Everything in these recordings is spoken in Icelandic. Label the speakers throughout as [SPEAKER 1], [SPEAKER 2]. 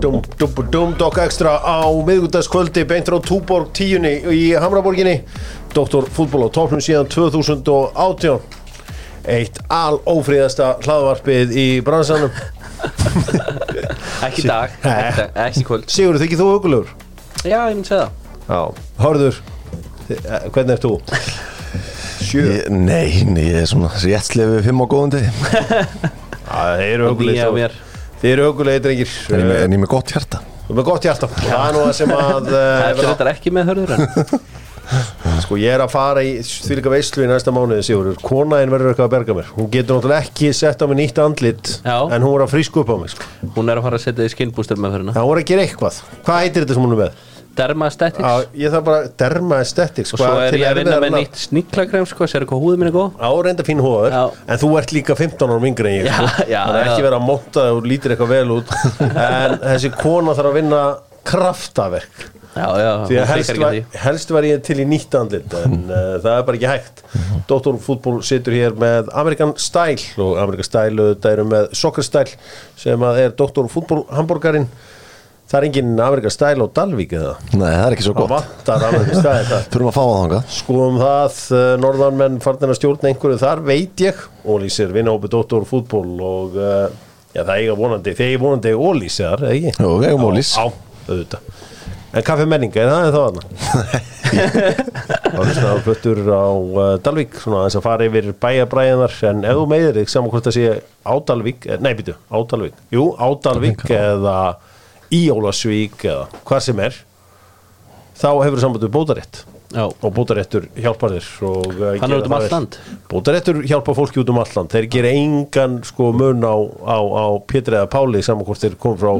[SPEAKER 1] Dúm dokk ekstra á miðgundagskvöldi beint frá Túborg 10 í Hamraborginni Doktor fútból á topnum síðan 2018 Eitt al ófríðasta hlaðvarpið í bransanum
[SPEAKER 2] Ekki í dag,
[SPEAKER 1] Nei.
[SPEAKER 2] ekki, ekki í kvöld
[SPEAKER 1] Sigur, þykir þú hugulegur?
[SPEAKER 2] Já, ég myndi segja það
[SPEAKER 1] Já Hörður, þi- eh, hvernig ert þú? Sjö Já,
[SPEAKER 3] Ég, nei, nei, ég er svona réttlega við fimm á góðum degi
[SPEAKER 1] Þeir eru
[SPEAKER 2] Og nýja
[SPEAKER 1] hugulegir
[SPEAKER 2] mér.
[SPEAKER 1] Þeir eru hugulegir, drengir
[SPEAKER 3] En ég með-
[SPEAKER 1] Eh,
[SPEAKER 3] en ég er með gott hjarta
[SPEAKER 1] Þú erum með gott hjarta Og Það er nú það sem að eh,
[SPEAKER 2] Þetta er þetta ekki með hörður en
[SPEAKER 1] Sko ég er að fara í þvílika veislu í næsta mánuði Sigurður Konaðin verður eitthvað að berga mér Hún getur náttúrulega ekki sett á mig nýtt andlit
[SPEAKER 2] Já.
[SPEAKER 1] En hún var að frísku upp á mig sko.
[SPEAKER 2] Hún er að fara að setja í skinnbústur með hörðuna
[SPEAKER 1] Það voru að gera eitthvað Hvað heitir þetta sem hún er með? Á,
[SPEAKER 2] Dermastetics
[SPEAKER 1] ég þarf bara derma aesthetics
[SPEAKER 2] Og svo
[SPEAKER 1] hvað
[SPEAKER 2] er
[SPEAKER 1] til
[SPEAKER 2] ég að vinna
[SPEAKER 1] erfiðara
[SPEAKER 2] með
[SPEAKER 1] nafn?
[SPEAKER 2] nýtt sníklakrem sko Sér hvað húðum minn er góð
[SPEAKER 1] Á reynda fín hóður
[SPEAKER 2] Já.
[SPEAKER 1] En þú ert líka 15 árum yngri en ég
[SPEAKER 2] Já,
[SPEAKER 1] sko.
[SPEAKER 2] já,
[SPEAKER 1] Þannig
[SPEAKER 2] já.
[SPEAKER 1] ekki vera að monta þegar þú lítir eitthvað vel út En þessi kona þarf að vinna kraftaverk
[SPEAKER 2] Já, já,
[SPEAKER 1] Því
[SPEAKER 2] hún
[SPEAKER 1] að helst
[SPEAKER 2] fikar ekki
[SPEAKER 1] var,
[SPEAKER 2] því
[SPEAKER 1] helst var ég til í nýtt andlit en uh, það er bara ekki hægt
[SPEAKER 2] Mhm.
[SPEAKER 1] Dóttor fútból situr hér með Amerikan Style og Amerikan Style auðvitað eru með Soccer Style sem að er Dóttor fútból hamburgarinn Það er engin Amerikan Style á Dalvík eða
[SPEAKER 3] Nei, það er ekki svo
[SPEAKER 1] Það
[SPEAKER 3] gott
[SPEAKER 1] vantar Amerikan Style það
[SPEAKER 3] Þurfum að fá það þangað
[SPEAKER 1] Skoðum það, eh, norðanmenn farnir að stjórna einhverju þar, veit ég Ólísir vinna hópi Dóttor fútból og uh, já, það eiga vonandi, þeir eiga vonandi Ólísar, eða ekki?
[SPEAKER 3] Jú, við eigum Ólís.
[SPEAKER 1] Á, á, auðvitað En kaffi menninga, er það eða það annað? Það er svona fluttur á uh, Dalvík, svona þess að fara yfir bæjabræðinar en ef þú meðir þig saman hvort það sé á Dalvík, eh, nei býtu, á Dalvík Jú, á Dalvík eða í Ólasvík eða hvað sem er þá hefur samband við bótarétt
[SPEAKER 2] Já,
[SPEAKER 1] og bótaréttur hjálpar þér og, uh,
[SPEAKER 2] Hann er út um allt land.
[SPEAKER 1] Bótaréttur hjálpar fólki út um allt land þeir gera engan sko mun á, á, á Pétri eða Páli saman hvort þeir kom frá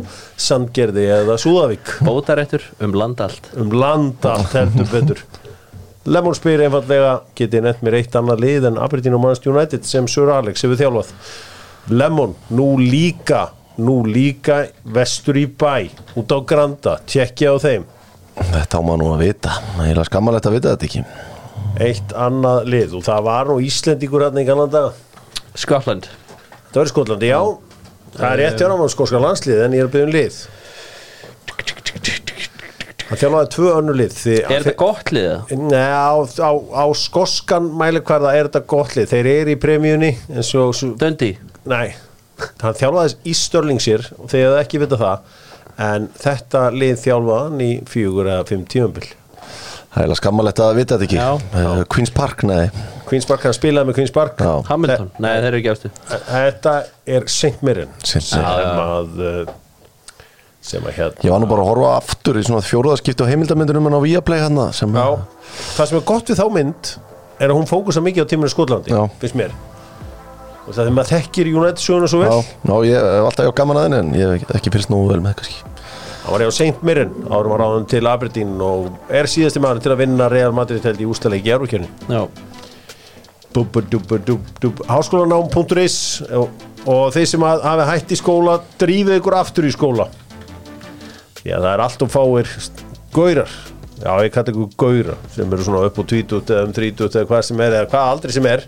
[SPEAKER 1] Sandgerði eða Súðavík
[SPEAKER 2] bótaréttur um land allt
[SPEAKER 1] um landa allt heldur betur Lemon spyr einfallega getið nefnt mér eitt annað lið en Aberdeen og Manchester United sem Sir Alex hefur þjálfað Lemon, nú líka nú líka vestur í bæ út á Granda, tjekkja á þeim
[SPEAKER 3] Þetta á maður nú að vita Ég er skammalegt að vita þetta ekki
[SPEAKER 1] eitt annað lið og það var nú Íslendingur hérna í Kanada
[SPEAKER 2] Skotland
[SPEAKER 1] það var í Skotlandi, já það er rétt hjá náman skóska landslið en ég er að byggja um lið það þjálfaði tvö önnu lið því-
[SPEAKER 2] Er þetta gott liðið?
[SPEAKER 1] Nei, á, á, á skoskan mælikvarða er þetta gott lið Þeir eru í premjunni en svo, svo
[SPEAKER 2] Döndi
[SPEAKER 1] nei, hann þjálfaðis í Störlingsir og þeir hefðu ekki vita það en þetta lið þjálfaðan í fjögur eða fimm tímabil
[SPEAKER 3] Það er skammalegt að vita þetta ekki
[SPEAKER 2] Já,
[SPEAKER 3] Eh, Queen's Park, nei
[SPEAKER 1] Queensbark, hann spilaði með Queensbark
[SPEAKER 3] Já.
[SPEAKER 2] Hamilton Nei, þeir eru ekki ástu
[SPEAKER 1] Þetta er Saint Mirren
[SPEAKER 3] Saint
[SPEAKER 1] sem
[SPEAKER 3] Mirren.
[SPEAKER 1] að uh, sem að hérna
[SPEAKER 3] Ég var nú bara að horfa aftur í svona fjóruðaskipti á heimildamindunum en á Viaplay hann sem
[SPEAKER 1] Já, það sem er gott við þá mynd er að hún fókusa mikið á tíminu Skotlandi
[SPEAKER 3] Já.
[SPEAKER 1] finnst mér og það þegar maður þekkir United söguna svo vel
[SPEAKER 3] Já, ná, ég hef alltaf hjá gaman að henni en ég hef ekki fyrst nú vel með kannski
[SPEAKER 1] Hann var hjá Saint Mirren árum að ráðum til Aberdeen og er síðasti maður til að vinna Real Madrid held í ústæðleik í Eurókjörni
[SPEAKER 2] Já
[SPEAKER 1] háskólanám.is og, og þeir sem að hafi hætt í skóla drífið ykkur aftur í skóla já það er allt og fáir st- gaurar já ég kalla ykkur gaurar sem eru svona upp á 20 eða um 30 eða hvað sem er eða hvað aldrei sem er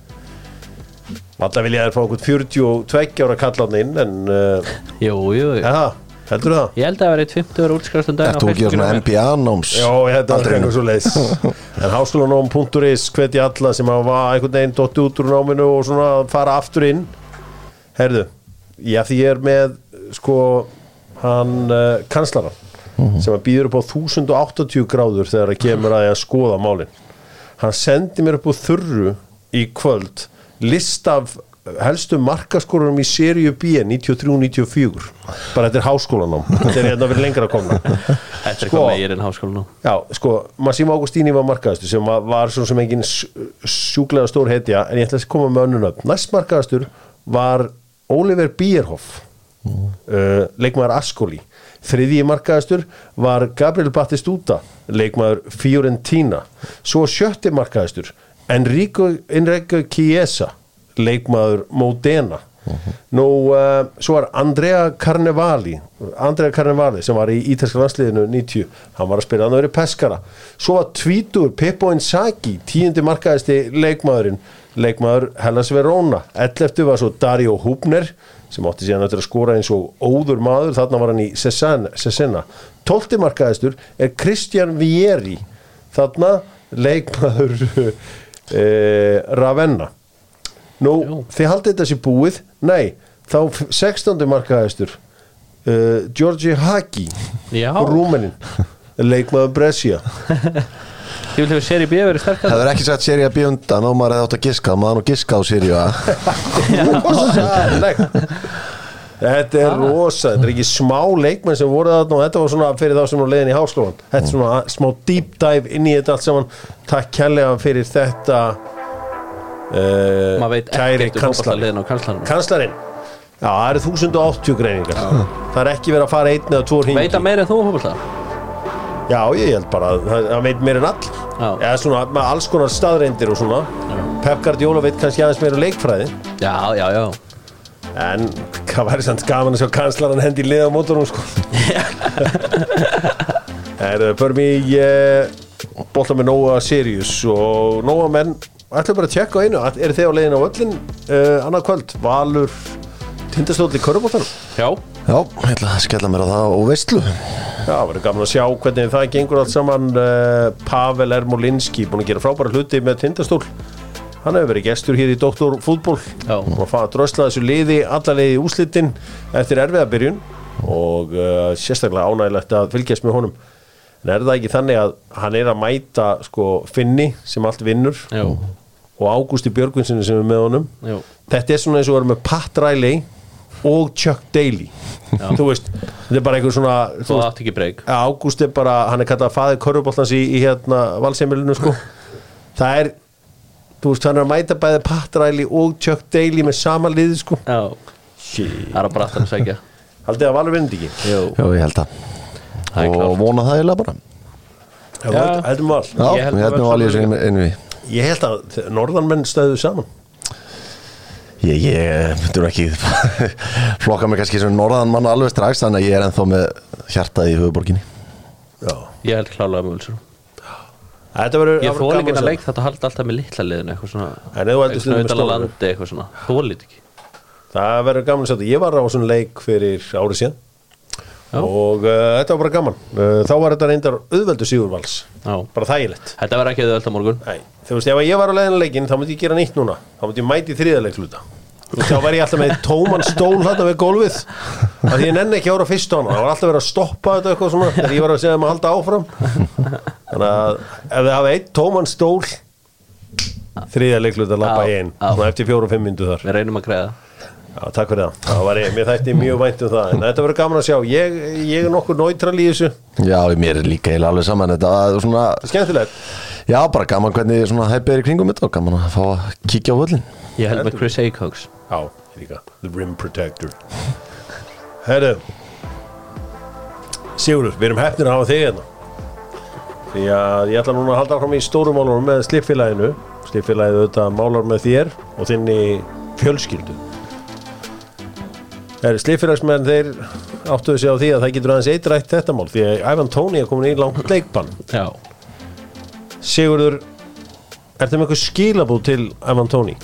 [SPEAKER 1] alltaf vilja þær fá einhvern 42 ára kallan inn en uh,
[SPEAKER 2] Jú, jú, jú
[SPEAKER 1] eða, heldur það?
[SPEAKER 2] Ég held að það verið 50 ára útskrast um daginn
[SPEAKER 3] Þetta þú ekki svona
[SPEAKER 2] enn
[SPEAKER 3] NBA-náms
[SPEAKER 1] Já, þetta var
[SPEAKER 3] Aldrei
[SPEAKER 1] eitthvað svo leiðis En háskólanóm.is hveti alla sem hafa einhvern veginn dotti út úr náminu og svona að fara aftur inn Herðu, já því ég er með sko hann uh, kanslaran sem að býður upp á 1080 gráður þegar að kemur að ég að skoða málin Hann sendi mér upp á þurru í kvöld list af helstu markaskorurum í seríu B 93-94 bara þetta er háskólanám þetta er hérna fyrir lengra komna
[SPEAKER 2] Þetta er
[SPEAKER 1] Sko.
[SPEAKER 2] hvað meir en háskóla nú
[SPEAKER 1] Já, sko, Massimo Augustini var markaðastur sem var- var svona sem engin s- sjúklega stór hetja en ég ætla að koma með önnun upp næst markaðastur var Oliver Bierhoff uh, leikmaður Ascoli þriðji markaðastur var Gabriel Batistuta leikmaður Fiorentina svo sjötti markaðastur Enrico Enrico Chiesa leikmaður Modena Nú, uh, svo var Andrea Carnevali Andrea Carnevali sem var í ítalska landsliðinu 90, hann var að spila hann verið peskara, svo var Tvítur Pippo Inzaghi, tíundi markaðasti leikmaðurinn leikmaður Hellas Verona 11. var svo Dario Hubner sem átti síðan eftir að skora eins og óður maður, þarna var hann í Sessena 12. markaðistur er Christian Vieri þarna leikmaður uh, Ravenna Nú, þið haldið þetta sér búið? Nei, þá f- 16. markaðistur uh, Georgi Haki
[SPEAKER 2] Já.
[SPEAKER 1] Rúmenin leikmaður Brescia
[SPEAKER 2] Ég vil hefur seri B verið sterkast
[SPEAKER 3] Það er ekki sagt séri að bjöndan og maður hefði átt að giska maður nú giska á séri að
[SPEAKER 1] rosalegt Þetta
[SPEAKER 2] Ah.
[SPEAKER 1] er rosa, þetta er ekki smá leikmenn sem voru þarna og þetta var svona fyrir þá sem voru leiðin í háskólan Þetta er
[SPEAKER 2] Mm.
[SPEAKER 1] svona smá deep dive inn í þetta allt saman Takk kærlega fyrir þetta
[SPEAKER 2] Maður
[SPEAKER 1] uh,
[SPEAKER 2] veit
[SPEAKER 1] kæri
[SPEAKER 2] ekkert um
[SPEAKER 1] kanslarinn
[SPEAKER 2] fótballaliðin á kanslarinn
[SPEAKER 1] Kanslarinn, já það eru 1080 greiningar Það er ekki verið að fara einn eða tvo hringi
[SPEAKER 2] Veit að meira en þú um fótballtað
[SPEAKER 1] Já ég held bara að það- það veit meira en all
[SPEAKER 2] Já.
[SPEAKER 1] Eða svona með alls konar staðreindir og svona Pep Guardiola veit kannski aðeins meira um leikfræði
[SPEAKER 2] Já, já, já
[SPEAKER 1] En hvað væri samt gaman að sjá kanslaran hendi liða á mótorum sko Það er förum í eh, bolta með Nóa Sirius og Nóa menn ætlum bara að tjekka á einu, eru þið á leiðin á öllin uh, annað kvöld, Valur tindastóll í körubóttanum
[SPEAKER 2] Já,
[SPEAKER 3] Já, ég ætla að skella mér á það og veistlu
[SPEAKER 1] Já, það verður gaman að sjá hvernig það gengur allt saman uh, Pavel Ermolinski búin að gera frábæra hluti með tindastól Hann hefur verið gestur hér í Doktor Fútból
[SPEAKER 2] Já.
[SPEAKER 1] og fann að drösla þessu liði allalegi í úslitin eftir erfiða byrjun og uh, sérstaklega ánægilegt að fylgjast með honum en er það ekki þannig að hann er að mæta sko, Finni sem allt vinnur
[SPEAKER 2] já,
[SPEAKER 1] og Ágústi Björgvinssoni sem er með honum
[SPEAKER 2] já
[SPEAKER 1] þetta er svona eins og verður með Pat Riley og Chuck Daly þú veist, þetta er bara einhver svona þú
[SPEAKER 2] Þú
[SPEAKER 1] veist,
[SPEAKER 2] átt ekki breyk
[SPEAKER 1] Ágúst er bara, hann er kallað faðið körfuboltans í, í hérna valseimilinu sko það er, þú veist hann er að mæta bæði Pat Riley og Chuck Daly með sama liði sko
[SPEAKER 2] Já, það er að bara aftan að segja
[SPEAKER 1] Haldið að Valur vindu ekki? Jú
[SPEAKER 3] Já, ég held að
[SPEAKER 2] Það er
[SPEAKER 3] Og
[SPEAKER 2] klárt
[SPEAKER 3] vona það eiginlega bara
[SPEAKER 1] Já, held- heldum val
[SPEAKER 3] Já,
[SPEAKER 2] Ég
[SPEAKER 3] ég
[SPEAKER 2] held að
[SPEAKER 3] held mér
[SPEAKER 2] verð
[SPEAKER 3] alveg þessu
[SPEAKER 2] svo
[SPEAKER 3] einu einu við
[SPEAKER 1] Ég held að þe- norðanmenn stöðu saman
[SPEAKER 3] Ég, eh, ég, þú eru ekki flokka mig kannski sem norðan mann alveg strax þannig að ég er ennþá með hjartað í höfuborginni
[SPEAKER 1] Já
[SPEAKER 2] Ég held klálega mjög svo
[SPEAKER 1] Þetta verður
[SPEAKER 2] Ég
[SPEAKER 1] það verður gaman
[SPEAKER 2] þóli ekki
[SPEAKER 1] að
[SPEAKER 2] að
[SPEAKER 1] sjá.
[SPEAKER 2] leik þetta að halda alltaf með litla liðinu Eitthvað svona
[SPEAKER 1] En ef þú heldur
[SPEAKER 2] Eitthvað
[SPEAKER 1] stundum með
[SPEAKER 2] utan á
[SPEAKER 1] stóru.
[SPEAKER 2] landi eitthvað svona Þólið ekki
[SPEAKER 1] Það verður gaman að sjá þetta Ég var á svona leik fyrir árið síðan
[SPEAKER 2] Já.
[SPEAKER 1] Og uh, þetta var bara gaman uh, Þá var þetta reyndar auðveldu sigurvals
[SPEAKER 2] Já
[SPEAKER 1] Bara þægilegt
[SPEAKER 2] Þetta verður ekki auðvelt á morgun
[SPEAKER 1] Nei, þú veist, ef ég var á leiðinu leikin þá myndi ég gera nýtt núna, þá myndi ég mæti þriðarleik hluta Þú veist, þá væri ég alltaf með tóman stól hérna við gólfið að því ég nenni ekki að ára fyrst á hana, það var alltaf verið að stoppa þetta eitthvað svona, þegar ég var að segja þeim að halda áfram þannig að ef þið hafa eitt tóman stól þriðarleik hluta lappa
[SPEAKER 2] Á,
[SPEAKER 1] ég inn
[SPEAKER 2] á.
[SPEAKER 1] svona eftir fjóru og fimm myndu þar
[SPEAKER 2] Við reynum að greiða
[SPEAKER 1] Já, takk fyrir það, það var ég, mér þætti mjög vænt um það en þetta verður gaman að sjá, ég, ég er nokkuð neutral í þessu,
[SPEAKER 3] Já, mér er líka eiginlega alveg saman Þetta var svona,
[SPEAKER 1] skemmtilegt
[SPEAKER 3] já, bara gaman hvernig svona hæpið er í kringum þetta og gaman að fá að kíkja á völlin
[SPEAKER 2] Ég held með Chris Acox
[SPEAKER 1] Já, ég líka The Rim Protector Herru Sigurður, við erum hefnir að hafa þig hérna Því að ég ætla núna að halda fram í stórumálunum með slipfélaginu Slipfélagið auðvitað málar með þér og þinni fjölskyldu Er slipfélagsmenn þeir áttuðu sig á því að það getur aðeins eitrætt þetta mál því að Ivan Tóni er komin í langt leikbann
[SPEAKER 2] Já
[SPEAKER 1] Sigurður, er þeim eitthvað skilabú til Ivan Tóni?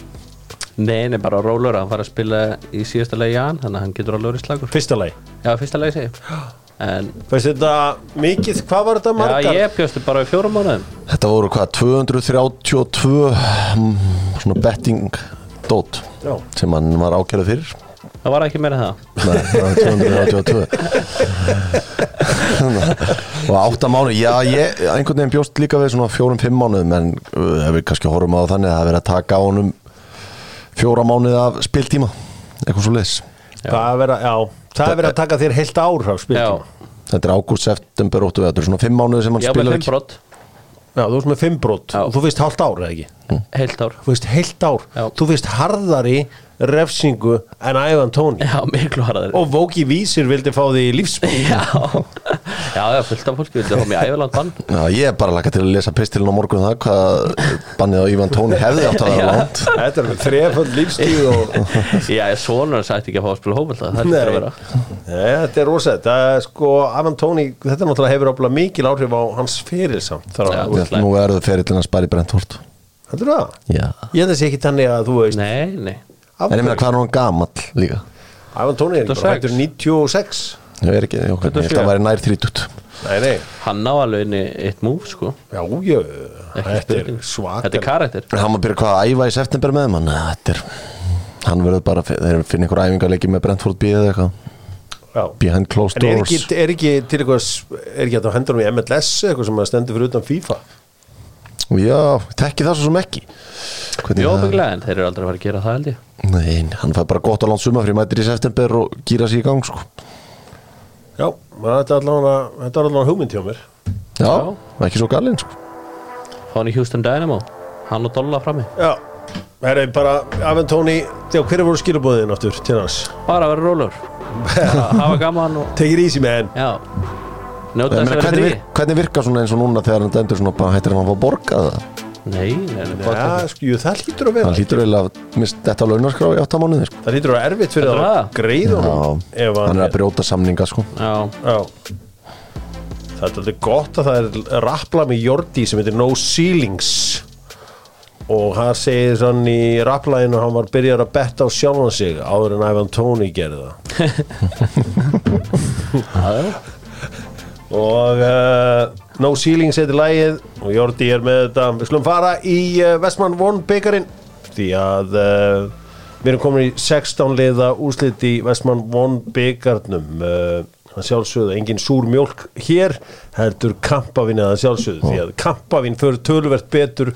[SPEAKER 2] Nei, nei, bara rólur Hann fara að spila í síðasta legi hann Þannig að hann getur alveg verið slagur
[SPEAKER 1] Fyrsta lagi
[SPEAKER 2] Já, fyrsta legi segi ég. En
[SPEAKER 1] Fannst þetta mikið, hvað var þetta
[SPEAKER 2] Já,
[SPEAKER 1] margar?
[SPEAKER 2] ég bjóstu bara í fjórum mánuðum
[SPEAKER 3] Þetta voru hvað, 232 mm, svona betting dot
[SPEAKER 1] Já.
[SPEAKER 3] sem hann var ákjörðu fyrir
[SPEAKER 2] Það var ekki meira en það
[SPEAKER 3] Nei, það var 232 og átta mánu já, ég einhvern veginn bjóst líka við svona fjórum-fimm mánuðum en uh, ef við kannski horfum á það þannig að það er verið að taka á honum fjóra mánuð af spiltíma eitthvað svo leis
[SPEAKER 1] Það er verið að, já, það er verið að taka þér heilt ár á spiltum.
[SPEAKER 2] Já,
[SPEAKER 3] þetta er ágúst, september, óttu þetta eru svona fimm mánuð sem hann
[SPEAKER 2] já með
[SPEAKER 3] spilar
[SPEAKER 2] fimm brott
[SPEAKER 1] Já, þú veist með fimm brot
[SPEAKER 2] Já.
[SPEAKER 1] og þú finnst hálft ár eða ekki?
[SPEAKER 2] Heilt ár
[SPEAKER 1] Þú finnst heilt ár,
[SPEAKER 2] Já.
[SPEAKER 1] þú finnst harðari refsingu en Ivan Tóni.
[SPEAKER 2] Já, miklu harðar
[SPEAKER 1] Og Vóki Vísir vildi fá því í lífsbúð.
[SPEAKER 2] Já, já, já, fullt af fólki vildi hafa mig ævilangt bann
[SPEAKER 3] já, ég er bara laka til að lesa pistilin á morgun það hvað bannið á Ívan Tóni hefði átt að vera langt
[SPEAKER 1] Þetta er þrefald lífstíð og...
[SPEAKER 2] Já, ég sonur hans ætti ekki að fá að spila hófbólta Það er
[SPEAKER 1] Nei,
[SPEAKER 2] lítur að vera
[SPEAKER 1] Nei, þetta er rosett. Það er sko, Ivan Tóni, þetta náttúrulega hefur ofla mikil áhrif á hans fyrirsamt.
[SPEAKER 2] Já.
[SPEAKER 1] Já.
[SPEAKER 3] nú er það ferillin að spara í Brentford
[SPEAKER 1] heldur það?
[SPEAKER 3] Já.
[SPEAKER 1] Ég held að sé ekki þannig að þú veist
[SPEAKER 2] Nei, nei
[SPEAKER 1] af
[SPEAKER 3] En ég meina
[SPEAKER 1] hverju-
[SPEAKER 3] hvað er hún gamall líka
[SPEAKER 1] Ivan Tóni er ekki bara
[SPEAKER 2] 26.
[SPEAKER 1] hættur 96
[SPEAKER 3] Ég er ekki, ég, ég held að
[SPEAKER 2] 27.
[SPEAKER 3] hann væri nær 30
[SPEAKER 1] Nei, nei,
[SPEAKER 2] Hann ná alveg inni eitt múf, sko
[SPEAKER 1] já, jö
[SPEAKER 2] Ekki
[SPEAKER 1] Þetta er
[SPEAKER 2] spurning.
[SPEAKER 1] svakar
[SPEAKER 2] Þetta er karakter
[SPEAKER 3] En Hann maður byrja hvað að æfa í september með mann Þetta er, hann verður bara þeir finna einhver æfingarleiki með Brentford B eða eitthvað
[SPEAKER 1] Já.
[SPEAKER 3] Behind closed
[SPEAKER 1] En er ekki,
[SPEAKER 3] doors
[SPEAKER 1] er ekki til eitthvað er ekki hægt að hendur hann í MLS eitthvað sem að stendur fyrir utan FIFA
[SPEAKER 3] Já, tekki það svo sem ekki Hvernig
[SPEAKER 2] Jó,
[SPEAKER 3] það-
[SPEAKER 2] bygglega, en þeir eru aldrei að fara að gera það, held ég
[SPEAKER 3] Nei, hann fær bara gott að langt sumafrí mætir í september og gýra sig í gang sko.
[SPEAKER 1] Já, þetta er allavega þetta er allavega hugmynd hjá mér
[SPEAKER 3] Já,
[SPEAKER 2] Já.
[SPEAKER 3] ekki svo galinn sko.
[SPEAKER 2] Fá hann í Houston Dynamo Hann og Dolla frammi
[SPEAKER 1] Já, það er bara Ivan Tóni, já, hverju voru skilabóðin aftur til hans?
[SPEAKER 2] Bara að vera rólur Hafa gaman og
[SPEAKER 1] Take it easy man
[SPEAKER 2] Já Njóta þess
[SPEAKER 3] Ég meina,
[SPEAKER 2] að vera
[SPEAKER 3] hvernig,
[SPEAKER 2] frí
[SPEAKER 3] virk, hvernig virkar svona eins og núna þegar hann dæmdur svona bara hættir hann að fá að borga það
[SPEAKER 2] Nei, nei, nei bara
[SPEAKER 1] Já,
[SPEAKER 2] þetta.
[SPEAKER 1] sko, jú, það hlýtur að vera
[SPEAKER 3] hann hlýtur eiginlega að mist þetta á launaskrá í 8 mánuði sko.
[SPEAKER 1] Það hlýtur að vera erfitt fyrir
[SPEAKER 2] Heldur
[SPEAKER 1] það að
[SPEAKER 2] það?
[SPEAKER 1] greiða
[SPEAKER 3] Já,
[SPEAKER 1] honum ef
[SPEAKER 3] hann
[SPEAKER 1] hann
[SPEAKER 3] er að brjóta samninga sko.
[SPEAKER 2] Já,
[SPEAKER 1] Já Það er alltaf gott að það er rappla með Jordi sem heitir No Ceilings og hann segir sann í rapplaðinu að hann var byrjar að betta á sjálfan sig áður en Ivan Tóni gerði það
[SPEAKER 2] já, já
[SPEAKER 1] og uh, No Ceilings heitir lægið og Jordi er með þetta við skulum fara í uh, Vestmann Von byggarinn því að uh, við erum komin í 16 liða úrslit í Vestmann Von byggarnum uh, að sjálfsögðu engin súr mjólk hér heldur kampavín að sjálfsögðu því að kampavín fyrir tölvert betur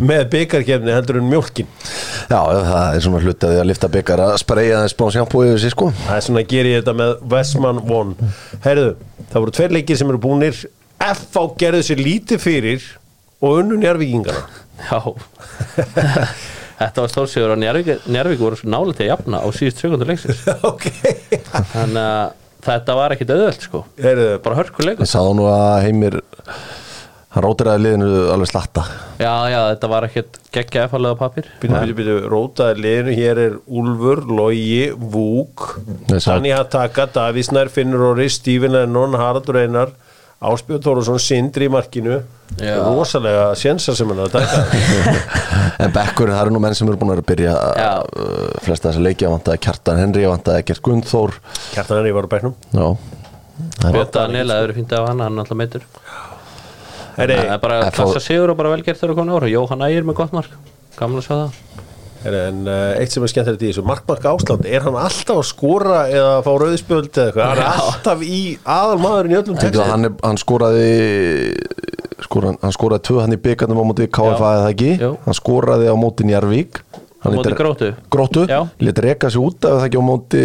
[SPEAKER 1] með byggarkerni heldur en mjólkin
[SPEAKER 3] já, já, það er svona hluti að því að lifta byggar að spreja þess bá sjampú yfir sig sko.
[SPEAKER 1] Það er svona að gera ég þetta með Vestman One Herðu, það voru tveir leikir sem eru búnir FH gerðu sér lítið fyrir og unnu njárvíkingana
[SPEAKER 2] Já Þetta var stórsjóður og Njarvík, Njarvík voru nálega til að jafna á síðust sekundu leiksins
[SPEAKER 1] Ok
[SPEAKER 2] Þannig að þetta var ekkit auðvöld sko
[SPEAKER 1] Herðu, bara
[SPEAKER 2] Bara hörkuleikur
[SPEAKER 3] ég sá nú að heimir hann rótiraði liðinu alveg slatta
[SPEAKER 2] Já, já, þetta var ekkit geggja efalega pappir
[SPEAKER 1] Býtum, býtum, býtum, rótaði liðinu, hér er Úlfur, Logi, Vúk,
[SPEAKER 3] Nei, sá-
[SPEAKER 1] Danni Hataka, Davísnær, Finnur Orri, Stífin Ennon, Haraldur Einar, Áspjörn Þórusson, Sindri í markinu,
[SPEAKER 2] Já.
[SPEAKER 1] rosalega sénsar sem hann er að taka.
[SPEAKER 3] en bekkurinn, það eru nú menn sem eru búin að byrja
[SPEAKER 2] Já.
[SPEAKER 3] uh, flesta þess að leikja vantaði Kjartan Henry, vantaði Gert Gunnþór
[SPEAKER 1] Kjartan Henni var á bæknum.
[SPEAKER 3] já, það er
[SPEAKER 2] Bjönda Nela, það eru fínt af hann, hann er alltaf meitur
[SPEAKER 1] Herri,
[SPEAKER 2] Það er bara
[SPEAKER 3] F.O.
[SPEAKER 2] klassa sigur og bara velgert þegar að koma ára Jóhann Ægir með gott mark Gamla svo það
[SPEAKER 1] herri, en uh, eitt sem er skemmtilegt í þessu, Markmark Ásland, er hann alltaf að skora eða að fá rauðspjöld eða eitthvað? Hann er alltaf í aðalmaðurinn í öllum
[SPEAKER 3] Tenktu,
[SPEAKER 1] textum.
[SPEAKER 3] hann, er, hann skoraði skoran, hann skoraði tvö hann í byggarnum á móti KFA eða það ekki,
[SPEAKER 2] Jú.
[SPEAKER 3] hann skoraði á móti Njarvík
[SPEAKER 2] Á
[SPEAKER 3] hann
[SPEAKER 2] móti
[SPEAKER 3] lét-
[SPEAKER 2] Gróttu.
[SPEAKER 3] Gróttu,
[SPEAKER 2] Já.
[SPEAKER 3] lét reka sig út af það ekki á móti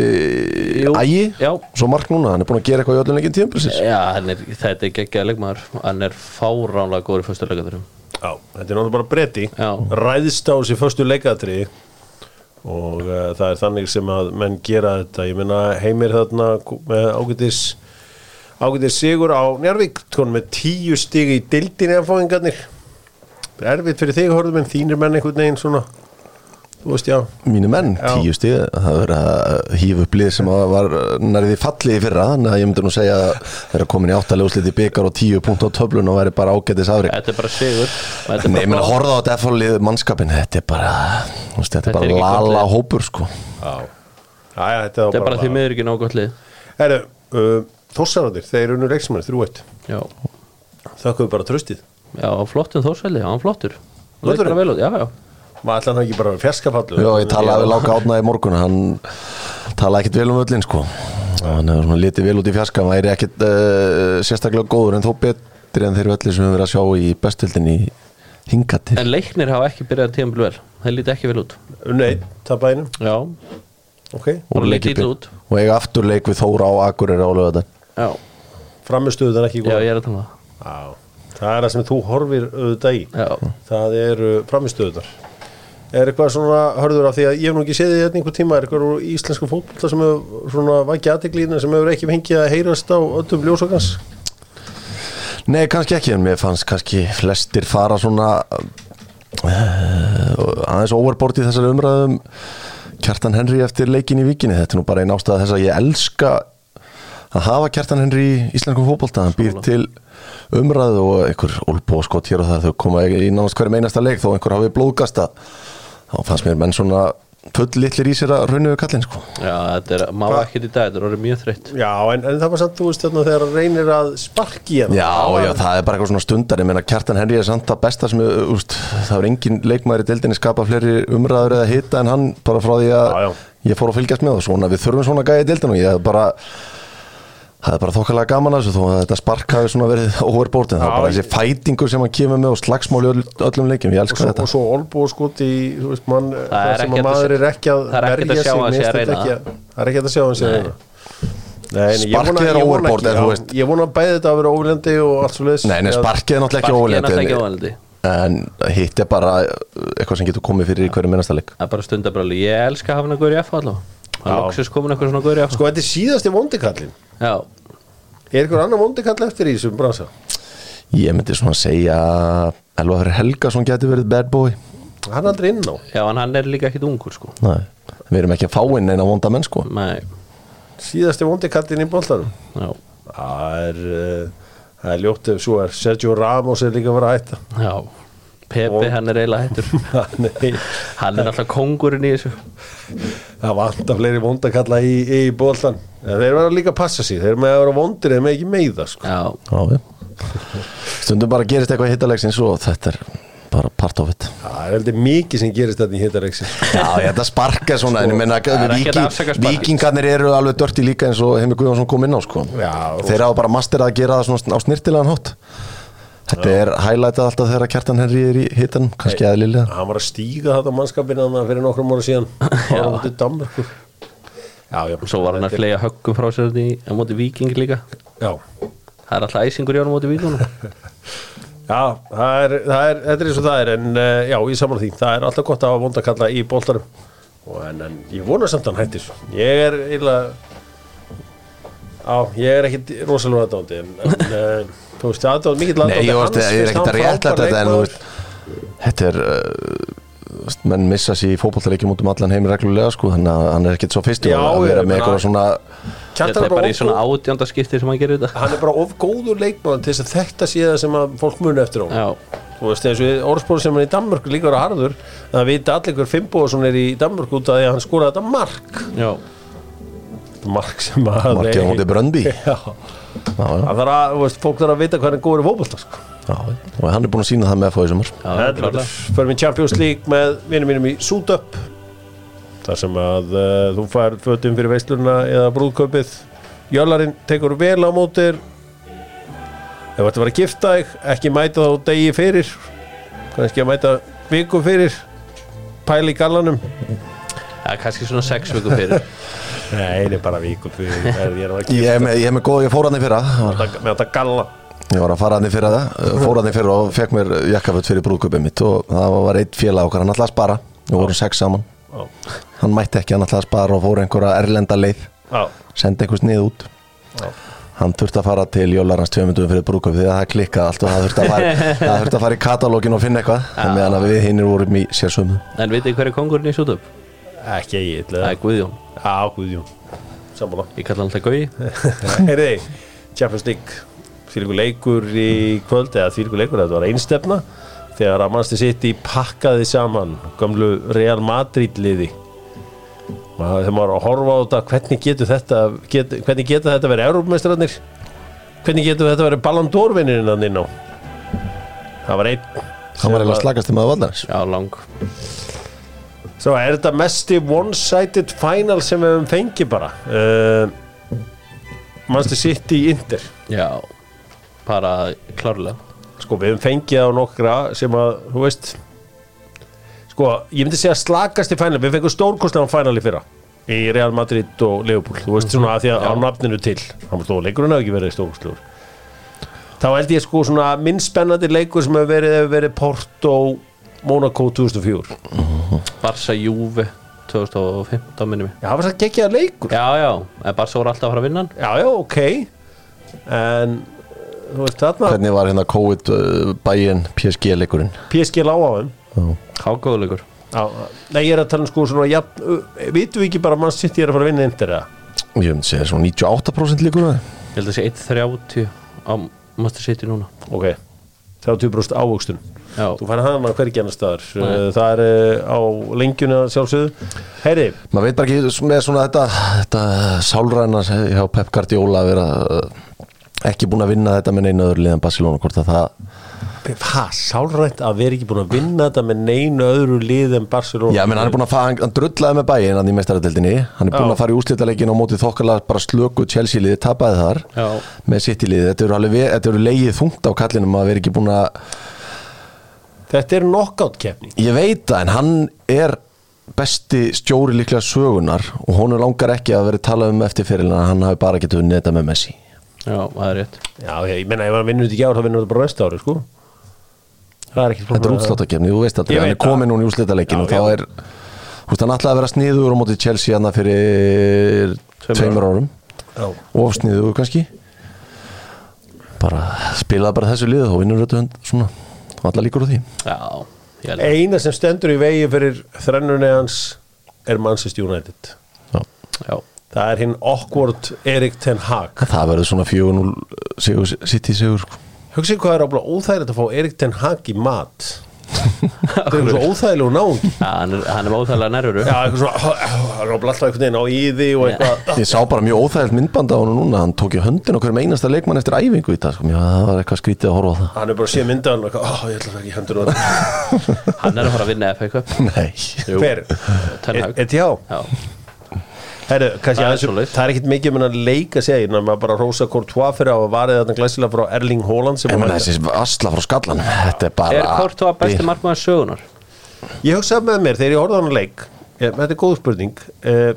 [SPEAKER 2] Jú.
[SPEAKER 3] Ægi,
[SPEAKER 2] Já.
[SPEAKER 3] svo mark núna hann er búin að gera eitthvað í öllum leikin tíðan precis
[SPEAKER 2] Já, hann er, þetta er geggja leikmaður Hann er fáránlega góður í fyrstu leikaturum
[SPEAKER 1] Já, þetta er náttúrulega bara bretti
[SPEAKER 2] Já.
[SPEAKER 1] ræðst á sér föstu leikatri og uh, það er þannig sem að menn gera þetta, ég meina heimir þarna kú- með ágætis ágætis sigur á Njarvík tónum með tíu stig í dildin eða fóðingarnir erfitt fyrir þig horfðum en þínir menn einhvern veginn svona þú veist já,
[SPEAKER 3] mínu menn,
[SPEAKER 1] Já.
[SPEAKER 3] tíu stíð það verður að hýfa upp lið sem að var nærði fallið í fyrra, þannig að ég myndi nú segja að vera komin í áttalega úslit í byggar og tíu punkt á töflun og væri bara ágætis afrik
[SPEAKER 2] Þetta er bara sigur og þetta er
[SPEAKER 3] Nei,
[SPEAKER 2] bara
[SPEAKER 3] ég meina,
[SPEAKER 2] gott.
[SPEAKER 3] horfa á þetta F-lið mannskapin Þetta er bara, þú veist, þetta er
[SPEAKER 2] Þetta er
[SPEAKER 3] bara
[SPEAKER 2] ekki gott
[SPEAKER 3] lala
[SPEAKER 2] lið.
[SPEAKER 3] hópur, sko
[SPEAKER 1] já. Já, já, þetta,
[SPEAKER 2] Þetta er bara því miður ekki nóg gott lið
[SPEAKER 1] Heru, uh, Þossararnir, þeir unnu leiksmenn þrjúvætt,
[SPEAKER 2] Já,
[SPEAKER 1] þakkuðu bara tröstið
[SPEAKER 2] já flottum þórsvelli, hann flottur Leit
[SPEAKER 1] Flottur?
[SPEAKER 2] bara vel út, Já, já,
[SPEAKER 1] maður ætla hann ekki bara að fjarskapallu
[SPEAKER 3] Já, ég talaði við Láka Átna í morgun Hann talaði ekkit vel um öllin, sko Hann hefur svona litið vel út í fjarska Hann væri ekkit uh, sérstaklega góður En þó betri en þeir öllir sem við verið að sjá í bestildin í hingati
[SPEAKER 2] En leiknir hafa ekki byrjað tíðanbíl vel Þeir líti ekki vel út
[SPEAKER 1] unnu einn, tapæðinu,
[SPEAKER 2] Já,
[SPEAKER 1] ok
[SPEAKER 2] bara leit ítla út
[SPEAKER 3] Og eiga afturleik við Þóra á Akureyri á lögða
[SPEAKER 2] Já,
[SPEAKER 1] framistuðu það er ekki
[SPEAKER 2] já
[SPEAKER 1] góð
[SPEAKER 2] ég er að tala um
[SPEAKER 1] Já, það er það sem þú horfir auðvitað í
[SPEAKER 2] það Já,
[SPEAKER 1] það eru framistuðunar er eitthvað svona hörður af því að ég hef nú ekki séð því þetta einhver tíma er eitthvað úr íslensku fótbolta sem hefur svona vakið aðteglíðina sem hefur ekki fengið að heyrast á öllum ljósokans
[SPEAKER 3] Nei, kannski ekki, en mér fannst kannski flestir fara svona uh, aðeins overbord í þessari um umræðum Kjartan Henry eftir leikin í vikinni, þetta er nú bara einn ástæða þess að ég elska að hafa kjartan henri í íslenskum fótbolta hann býr til umræðu og einhver olbóskot hér og þar þau koma í nánast hverjum einasta leik þó einhver hafi blóðgasta þá fannst mér menn svona full litlir í sér að rauninu kallin sko.
[SPEAKER 2] Já, þetta er, má
[SPEAKER 1] Hva-
[SPEAKER 2] ekkert í dag, þetta er orðið mjög þreytt
[SPEAKER 1] Já, en, en það var samt, þú veist, þarna þegar hann reynir að sparki hérna. hann
[SPEAKER 3] Já, já, það er bara eitthvað svona stundar ég meina Kjartan Henry er samt það besta sem er, úst, það er engin leikmaður í deildinni skapa fleiri umræður eða hita en hann bara frá því að
[SPEAKER 1] Já, já.
[SPEAKER 3] ég fór að fylgjast með og svona, við þurfum svona gæði í deildinu og ég hef bara það er bara þokkalega gaman að þessu þó að þetta spark hafi svona verið overbórt en það
[SPEAKER 1] Já,
[SPEAKER 3] er bara
[SPEAKER 1] ég-
[SPEAKER 3] þessi fætingur sem hann kemur með og slagsmál í öll, öllum leikum, ég
[SPEAKER 1] og
[SPEAKER 3] elska
[SPEAKER 1] svo,
[SPEAKER 3] þetta
[SPEAKER 1] og svo olbúskot í þú veist, mann, það
[SPEAKER 2] er
[SPEAKER 1] sem
[SPEAKER 2] ekki
[SPEAKER 1] að
[SPEAKER 2] hægt að
[SPEAKER 1] maður er
[SPEAKER 2] sjá-
[SPEAKER 1] ekki að
[SPEAKER 2] það er ekki hægt að
[SPEAKER 1] verja
[SPEAKER 2] sjá
[SPEAKER 1] sig,
[SPEAKER 2] hann sé
[SPEAKER 1] mér finnst þetta ekki að- það er ekki hægt að sjá hann
[SPEAKER 2] að reyna
[SPEAKER 1] sé að reyna Nei, en ég vona-
[SPEAKER 3] Sparkið er
[SPEAKER 1] ég vona
[SPEAKER 3] overboard,
[SPEAKER 1] ekki,
[SPEAKER 3] en þú
[SPEAKER 1] já,
[SPEAKER 3] veist-
[SPEAKER 1] Ég vona bæði þetta að vera óvilendi og allt svo leiðis
[SPEAKER 3] Nei, nei, sparkið er náttúrulega ekki
[SPEAKER 2] Barkið er náttúrulega
[SPEAKER 3] óviljöndi
[SPEAKER 2] ekki óvaldi
[SPEAKER 3] en hitt er bara uh, eitthvað sem getur komið fyrir í hverju minnasta leik
[SPEAKER 2] Það er bara stundabrölu, ég elska að hafa hann að góri F allavega Það
[SPEAKER 1] Já.
[SPEAKER 2] er loksins komin eitthvað svona góri F
[SPEAKER 1] Sko, þetta er síðasti vondikallin
[SPEAKER 2] Já,
[SPEAKER 1] Er einhver annar vondikall eftir í þessum bransa?
[SPEAKER 3] Ég myndi svona segja Elva fyrir Helga sem getur verið bad boy
[SPEAKER 1] Hann er aldrei inn á
[SPEAKER 2] já, en hann er líka ekkit ungur sko
[SPEAKER 3] Nei, við erum ekki að fá inn eina vonda menn sko
[SPEAKER 2] Nei,
[SPEAKER 1] Síðasti vondikallin í boltanum
[SPEAKER 2] já,
[SPEAKER 1] Það er, uh, það er ljótt ef svo er Sergio Ramos er líka að vera að hætta
[SPEAKER 2] já Pepe,
[SPEAKER 1] Og-
[SPEAKER 2] hann er eiginlega hættur
[SPEAKER 1] Nei,
[SPEAKER 2] Hann er alltaf kongurinn í þessu
[SPEAKER 1] það vantar fleiri vondakalla í, í boltan En Þeir verða líka að passa sig, þeir eru með að vera vondir eða með ekki meiða sko.
[SPEAKER 2] Já,
[SPEAKER 3] Já, já Stundum bara gerist eitthvað í hittalegsins og þetta er bara part of it
[SPEAKER 1] Það er heldur mikið sem gerist þetta í hittareiksin
[SPEAKER 3] Já, ég þetta sparka svona en ég menna
[SPEAKER 2] það er ekkert að
[SPEAKER 3] viki,
[SPEAKER 2] afsaka sparkið.
[SPEAKER 3] vikingarnir eru alveg dörti líka eins og Heimi Guðjónsson kom inn á sko
[SPEAKER 1] Já, og-
[SPEAKER 3] Þeir hafa bara masterað að gera það svona á snirtilegan hótt Þetta er highlightað alltaf þegar að kjartan henri er í hittan kannski aðlilega
[SPEAKER 1] Hann var að stíga þetta mannskapin hann fyrir nokkrum ára síðan Það var út í Danmarku Já, já
[SPEAKER 2] svo var hann að flega höggum frá sér þarna í, á móti viking líka
[SPEAKER 1] Já,
[SPEAKER 2] Það er alltaf æsingur í honum á móti vikingunum
[SPEAKER 1] já það er, það er, þetta er eins og það er En eh, já, ég saman því, það er alltaf gott að hafa vondakalla í boltarum Og en, en ég vona samt að hann hættir svo Ég er illa Já, ég er ekkit rosalega aðdándi En, en eh, þú veist, aðdánd mikill
[SPEAKER 3] Nei,
[SPEAKER 1] aðdándi
[SPEAKER 3] ég, veist, ég er ekkert að réttlega þetta en þú veist Þetta er uh, þú veist, menn missa sér í fótballleikjum út um allan heim reglulega sko, þannig að hann er ekkert svo fyrst
[SPEAKER 1] Já,
[SPEAKER 3] að
[SPEAKER 1] ég
[SPEAKER 3] vera
[SPEAKER 1] meina-
[SPEAKER 3] með eitthvað svona
[SPEAKER 2] Þetta er bara í svona átjönda skipti sem hann gerir þetta
[SPEAKER 1] hann er bara of góður leikmann til þess að þetta sé það sem að fólk muni eftir á honum.
[SPEAKER 2] Já,
[SPEAKER 1] þú veist eins og orðspóri sem hann í Danmörk líka var að harður það vita allir hver Fimboðsson er í Danmörk út af því að hann skoraði þetta mark
[SPEAKER 2] já,
[SPEAKER 1] mark sem að
[SPEAKER 3] markið á móti Bröndi já,
[SPEAKER 1] Já.
[SPEAKER 3] já,
[SPEAKER 1] það þarf að, þú veist, fólk þarf að vita hvað hann er góður í fótbolta sko.
[SPEAKER 3] já, og hann er búin að sína það með að fá í sumar
[SPEAKER 2] já
[SPEAKER 1] þetta verður förum í Champions League með vinum mínum í Sútöpp þar sem að uh, þú fær fötum fyrir veisluna eða brúðkaupið Jöllarinn tekur vel á mótir ef þetta var að gifta þig ekki mæta þá degi fyrir kannski að mæta viku fyrir pæli í gallanum
[SPEAKER 2] Já, kannski svona sex viku fyrir
[SPEAKER 1] Nei, það er bara viku fyrir það er- Ég er að
[SPEAKER 3] ég
[SPEAKER 1] gifta
[SPEAKER 3] er með, ég er með góð, ég fór hann í fyrra
[SPEAKER 1] með þetta- með þetta galla
[SPEAKER 3] ég var að fara hann í fyrra það uh, fór hann í fyrra og fekk mér jakkaföld fyrir brúðköpum mitt og það var eitt félag okkar, hann ætlaði að spara við vorum sex saman,
[SPEAKER 1] Já,
[SPEAKER 3] hann mætti ekki hann ætlaði að spara og fór einhverja erlenda leið
[SPEAKER 1] já,
[SPEAKER 3] sendi einhvers niður út
[SPEAKER 1] já.
[SPEAKER 3] hann þurfti að fara til jólarans tveimundum fyrir brúkup því að það klikkaði allt og það þurfti að fara, það þurfti að fara í katalógin og finna eitthvað en meðan að við hinnir vorum í sérsömu
[SPEAKER 2] En vitið þið hver er kongurinn í sútöp?
[SPEAKER 1] Ekki ég
[SPEAKER 2] Það er Guðjón,
[SPEAKER 1] Já, Guðjón Sammála
[SPEAKER 2] ég kalla hann alltaf Guði
[SPEAKER 1] Heyriði, Champions League Þvílíku leikur í kvöld eða þvílíku leikur, þetta var einstefna þegar að mannstu sitt í pakkaði saman gamlu Real Madrid liði Ma- þegar maður er að horfa á þetta hvernig getur þetta get, hvernig getur þetta verið Európmestrarnir hvernig getur þetta verið Ballon d'Or vinnirinn hann inn á það var einn
[SPEAKER 3] hann var eiginlega slagast um að vallarins
[SPEAKER 2] Já, lang
[SPEAKER 1] Svo er þetta mesti one-sided final sem við höfum fengið bara uh, Manstu sitt í Inter
[SPEAKER 2] Já, bara klárlega
[SPEAKER 1] Sko við höfum fengið á nokkra sem að, þú veist Sko, ég myndi segja slakast í final Við fengum stórkostlega final í fyrra Í Real Madrid og Liverpool Þú veist svona að því að á nafninu til Hann stóð leikurinn hafi ekki verið stórkostlegur Þá held ég sko svona minn spennandi leikur sem hefur verið, hefur verið Porto Monaco 2004
[SPEAKER 2] Barca Juve 2015 minnum við
[SPEAKER 1] Já, það var satt geggjaða leikur
[SPEAKER 2] Já, já, en Barca voru alltaf að fara að vinna hann
[SPEAKER 1] Já, já, ok En þú veist þarna
[SPEAKER 3] hvernig var hérna COVID uh, bæin PSG leikurinn
[SPEAKER 1] PSG lág á þeim
[SPEAKER 2] Hágóðulegur
[SPEAKER 1] Já, Nei, ég er að tala um sko svona jafn, Vitum við ekki bara að mann sitt ég er að fara að vinna yndir það
[SPEAKER 3] ég myndi segja svona 98% líkur á því.
[SPEAKER 2] Ég held að sé 1.30 á Master City núna
[SPEAKER 1] ok 30% ávöxtun
[SPEAKER 2] Já.
[SPEAKER 1] þú færði hana hvergi annar staðar uh, það er uh, á lengjuna sjálfsögðu heyri,
[SPEAKER 3] maður veit bara ekki með svona þetta, þetta sálræna hjá Pep Guardiola að vera uh, ekki búin að vinna þetta með neina öðru liðan Barcelona hvort að það,
[SPEAKER 1] ha, sálrænt að vera ekki búin að vinna þetta með neinu öðru lið en Barcelona
[SPEAKER 3] já menn hann er búin að fara, hann- hann drullaði með bæinn hann í meistaradeldinni, hann er búin
[SPEAKER 1] Já.
[SPEAKER 3] að fara í úslitaleikin á mótið þokkalega bara slöku Chelsea liði tapaði þar
[SPEAKER 2] Já.
[SPEAKER 3] með sitt í liði, þetta eru alveg ve- þetta eru leigið þungt á kallinum að vera ekki búin að
[SPEAKER 1] þetta er knockout keppni
[SPEAKER 3] ég veit það en hann er besti stjóri líklega sögunar og hún langar ekki að vera talað um eftir fyrir hann, hann hafi bara getið unnið þetta með Messi
[SPEAKER 2] Já, það er rétt
[SPEAKER 1] já, ég, ég menna, ef hann vinnur þetta ekki ár þá vinnur þetta bara næsta ári, sko það er ekki
[SPEAKER 3] Þetta er útsláttakefni, þú veist aldrei,
[SPEAKER 1] Ég
[SPEAKER 3] hann
[SPEAKER 1] veit
[SPEAKER 3] er komin
[SPEAKER 1] það.
[SPEAKER 3] núna í úrslitaleikin
[SPEAKER 1] Já,
[SPEAKER 3] og þá
[SPEAKER 1] já.
[SPEAKER 3] er, þú veist, hann ætlaði að vera sniður á móti Chelsea hann fyrir
[SPEAKER 2] Tveimur
[SPEAKER 3] tveimur árum,
[SPEAKER 1] Já.
[SPEAKER 3] of sniður kannski bara spilaði bara þessu liðu og vinnur þetta hund svona, alla líkur á því
[SPEAKER 2] Já, ég held að
[SPEAKER 1] eina sem stendur í vegi fyrir þrennunni hans er Manchester United
[SPEAKER 3] Já.
[SPEAKER 2] Já,
[SPEAKER 1] það er hinn awkward Erik Ten Hag
[SPEAKER 3] Það verður svona 4-0 sigur, City sigur sko.
[SPEAKER 1] hugsið hvað er ábúinlega óþægilegt að fá Erik Ten Hag í mat það er um svo óþægilegu náung
[SPEAKER 2] Já, hann er, hann er óþægilega nervuru
[SPEAKER 1] já, eitthvað svona það er ábúinlega alltaf einhvern veginn á íði og eitthvað "Ah,"
[SPEAKER 3] Ég sá bara mjög óþægild myndband á hann núna hann tók í höndin okkur með einasta leikmann eftir æfingu í dag sko. Já, það var eitthvað skrítið að horfa á það
[SPEAKER 1] hann er bara að sé mynda hann og eitthvað, ó, ég ætla það ekki í hendur á hann
[SPEAKER 2] Hann er að fara að vinna FA Cup
[SPEAKER 3] Nei,
[SPEAKER 1] hver? E-
[SPEAKER 2] Ten Hag.
[SPEAKER 1] Etjá
[SPEAKER 2] Já,
[SPEAKER 1] Heru, kannski,
[SPEAKER 2] Það er
[SPEAKER 1] aðeins, um-
[SPEAKER 2] svoleiðis.
[SPEAKER 1] það er ekkit mikið um hann að leika segja en maður bara rosa Courtois fyrir að varðið þarna glæsilega frá Erling Haaland sem
[SPEAKER 3] en
[SPEAKER 1] hann-
[SPEAKER 3] menn þessi asla frá skallan Þetta er bara
[SPEAKER 2] er Kortóa besti markmaður sögunar?
[SPEAKER 1] Ég hugsaði með mér þegar ég horfði á hann leik ég, þetta er góð spurning uh,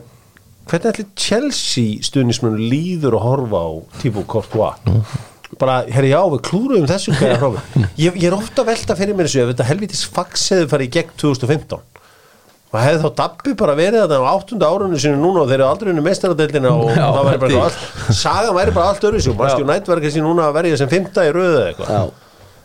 [SPEAKER 1] hvernig ætli Chelsea stuðnismun líður að horfa á Thibaut Courtois bara, herri já, við klúruðum þessu hverja hrófi ég, ég er ofta að velta fyrir mér þessu ef þetta helvitis faxeðu farið í gegn 2015 og hefði þá Dabbi bara verið þarna á áttunda árunni sinu núna og þeir eru aldrei unni meistaradeildina og
[SPEAKER 2] Já,
[SPEAKER 1] það væri bara
[SPEAKER 2] því.
[SPEAKER 1] eitthvað allt sagan væri bara allt öðru sér og bara stjórn nættverkið sín núna að verja sem fymta í röðu eða eitthvað
[SPEAKER 2] Já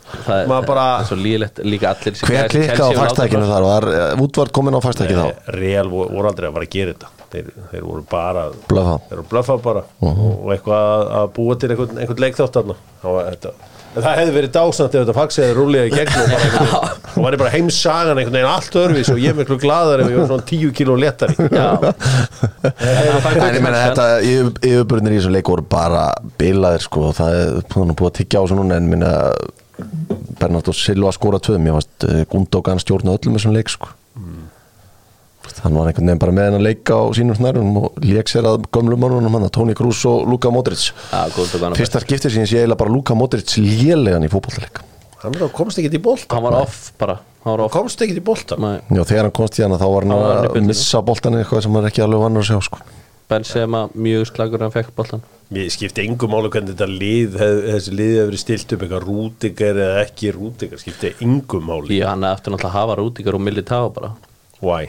[SPEAKER 2] Það er,
[SPEAKER 1] Maður bara-
[SPEAKER 2] það er svo lílegt líka allir sem-
[SPEAKER 3] Hver klikkaði á
[SPEAKER 2] Chelsea og
[SPEAKER 3] fagstækinu
[SPEAKER 2] Lautaro-
[SPEAKER 3] þar? Var útvart komin á fagstæki þá?
[SPEAKER 1] Eh, Real voru, voru aldrei að fara að gera þetta þeir, þeir voru bara
[SPEAKER 3] Blöfa.
[SPEAKER 1] þeir voru blöffa bara og eitthvað að, að búa til einhvern, einhvern leikþátt þarna Það var þetta- en það hefði verið dásamt ef þetta faxiði rúlega í gegn og bara einhvern veginn- og væri bara heimsagan einhvern veginn allt örfis og ég er miklu glaðar ef ég var svona 10 kíló letari
[SPEAKER 3] En ég meina þetta, yfir- yfirburnir í þessum leik voru bara bilaðir sko og það er búin að búið að tyggja á þessu núna en minna Bernardo Silva skora tvöðum ég varst eh, Gundogan stjórna öllum þessum leik sko
[SPEAKER 2] Mm.
[SPEAKER 3] Hann var einhvern veginn bara með henn að leika á sínum snærunum og lék sér að gömlum mannunum hann Toni Krús og Luka Modric
[SPEAKER 2] Já, Gundogan var
[SPEAKER 3] Fyrsta skiptið síðan sé eiginlega bara Luka Modric lélegan í fótballleik
[SPEAKER 1] hann er að komst ekki í bolta
[SPEAKER 2] Hann var off bara Hann var off
[SPEAKER 1] komst ekki í bolta
[SPEAKER 2] Nei,
[SPEAKER 3] Já, þegar hann komst í hana þá var hann
[SPEAKER 2] Hann var hann í
[SPEAKER 3] að
[SPEAKER 2] byrjun.
[SPEAKER 3] missa boltan eitthvað sem hann er ekki alveg vann að sjá sko
[SPEAKER 2] Benzema mjög slagur hann fekk boltan
[SPEAKER 1] mér skipti engu máli hvernig þetta lið hef, þessi lið hefur verið stilt upp eitthvað rútingar eða ekki rútingar skipti engu máli
[SPEAKER 2] Í hann eftir náttúrulega hafa rútingar og Militao bara
[SPEAKER 1] why?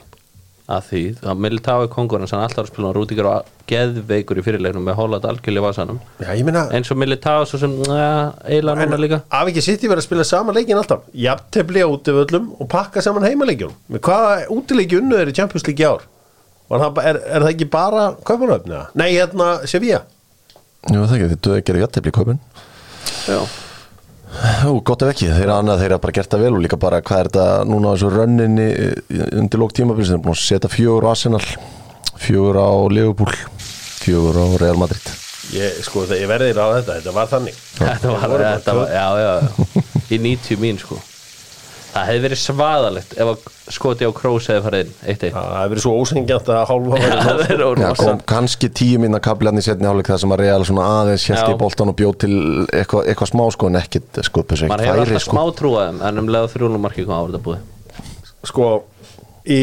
[SPEAKER 2] að því að Militao er kongur en hann alltaf er að spila rútingar og geðveikur í fyrirleiknum með Holland algjörlega í vasanum
[SPEAKER 1] já ég meina
[SPEAKER 2] eins og Militao svo sem ja, eila núna líka
[SPEAKER 1] af ekki sitt ég verið að spila saman leikin alltaf jafntefli á útivöllum og pakka saman heimaleikjum með hvaða útileiki unnu er í Champions League í ár Var það, ba- er, er það ekki bara Kaupanöfn eða? Nei, hérna Sevilla
[SPEAKER 3] Jú, það ekki, þið döðu að gera jættefli í kaupin
[SPEAKER 2] Já,
[SPEAKER 3] Jú, gott ef ekki, þeir annað þeir hafa bara gert það vel og líka bara hvað er þetta núna á þessu rönninni eh, undir lók tímabilsinu, búin að setja fjögur á Arsenal, fjögur á Liverpool, fjögur á Real Madrid
[SPEAKER 1] ég, sko, það, ég verði ráð þetta, þetta var þannig
[SPEAKER 2] þetta var,
[SPEAKER 1] voru bara
[SPEAKER 2] þetta var já, já, já. í 90 mín sko það hefði verið svaðalegt ef að skoti á Kroos hefði farið inn eitt eitt
[SPEAKER 1] Já, það hefur verið svo ósengjant að hálfa verið
[SPEAKER 2] það er
[SPEAKER 3] Já, kom
[SPEAKER 2] órosa
[SPEAKER 3] kannski tíu hérna minna kabljarni setni áleik það sem að Real svona aðeins held
[SPEAKER 2] Já.
[SPEAKER 3] í boltan og bjóð til eitthvað, eitthvað smá sko en ekkit sko, þessu
[SPEAKER 2] maður
[SPEAKER 3] ekkit
[SPEAKER 2] hefur
[SPEAKER 3] færi
[SPEAKER 2] alltaf smá
[SPEAKER 3] sko
[SPEAKER 2] trúaðum en um leða þrjónumarki kom árið að búið
[SPEAKER 1] sko í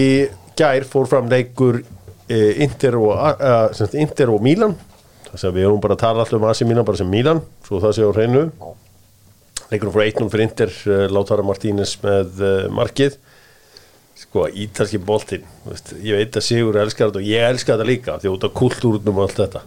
[SPEAKER 1] gær fór fram leikur e, Inter, og, e, semst, Inter og Milan þess að við erum bara að tala alltaf um Asi Milan bara sem Milan, svo það sé á hreinu leikur fór 1-0 fyrir Inter e, Látara Martínez með e, markið sko ítalski boltinn þú veist, ég veit að Sigur elskar þetta og ég elskar þetta líka því út af kultúrnum og allt þetta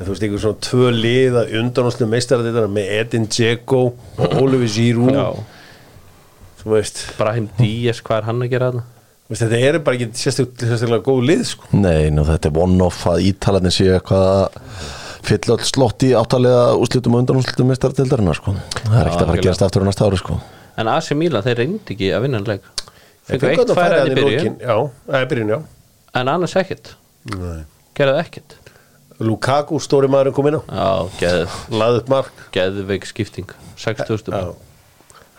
[SPEAKER 1] en þú veist einhver svona tvö liða undanáslu meistarðiðar með Edin Dzeko og Oliver Giroud
[SPEAKER 2] Já. Mm.
[SPEAKER 1] þú veist
[SPEAKER 2] Brahim Díaz, hvað er hann að gera þarna?
[SPEAKER 1] Vist, þetta eru bara ekki sérstök, sérstaklega góð lið sko.
[SPEAKER 3] Nei, nú, þetta er one-off að ítalarnir séu eitthvað að fylla all slott í áttalega úslutum og undanúslutum með starfdeildarinnar sko. Það er ekkert að fara að
[SPEAKER 2] algjörlega.
[SPEAKER 3] gerast aftur á næsta ári sko.
[SPEAKER 2] en AC Milan, þeir reyndi ekki að vinna leik
[SPEAKER 1] Þeir
[SPEAKER 2] fengu
[SPEAKER 1] fengu
[SPEAKER 2] eitt
[SPEAKER 1] þarna færi
[SPEAKER 2] færi hann
[SPEAKER 1] þarna
[SPEAKER 2] í byrju
[SPEAKER 1] lokin, Já, það er byrjun, já
[SPEAKER 2] en annars ekkert,
[SPEAKER 1] Nei.
[SPEAKER 2] gerðu ekkert
[SPEAKER 1] Lukaku, stóri maðurinn kom inn á
[SPEAKER 2] já, geð,
[SPEAKER 1] Laði upp mark
[SPEAKER 2] geðveik skipting 60.000
[SPEAKER 1] Já.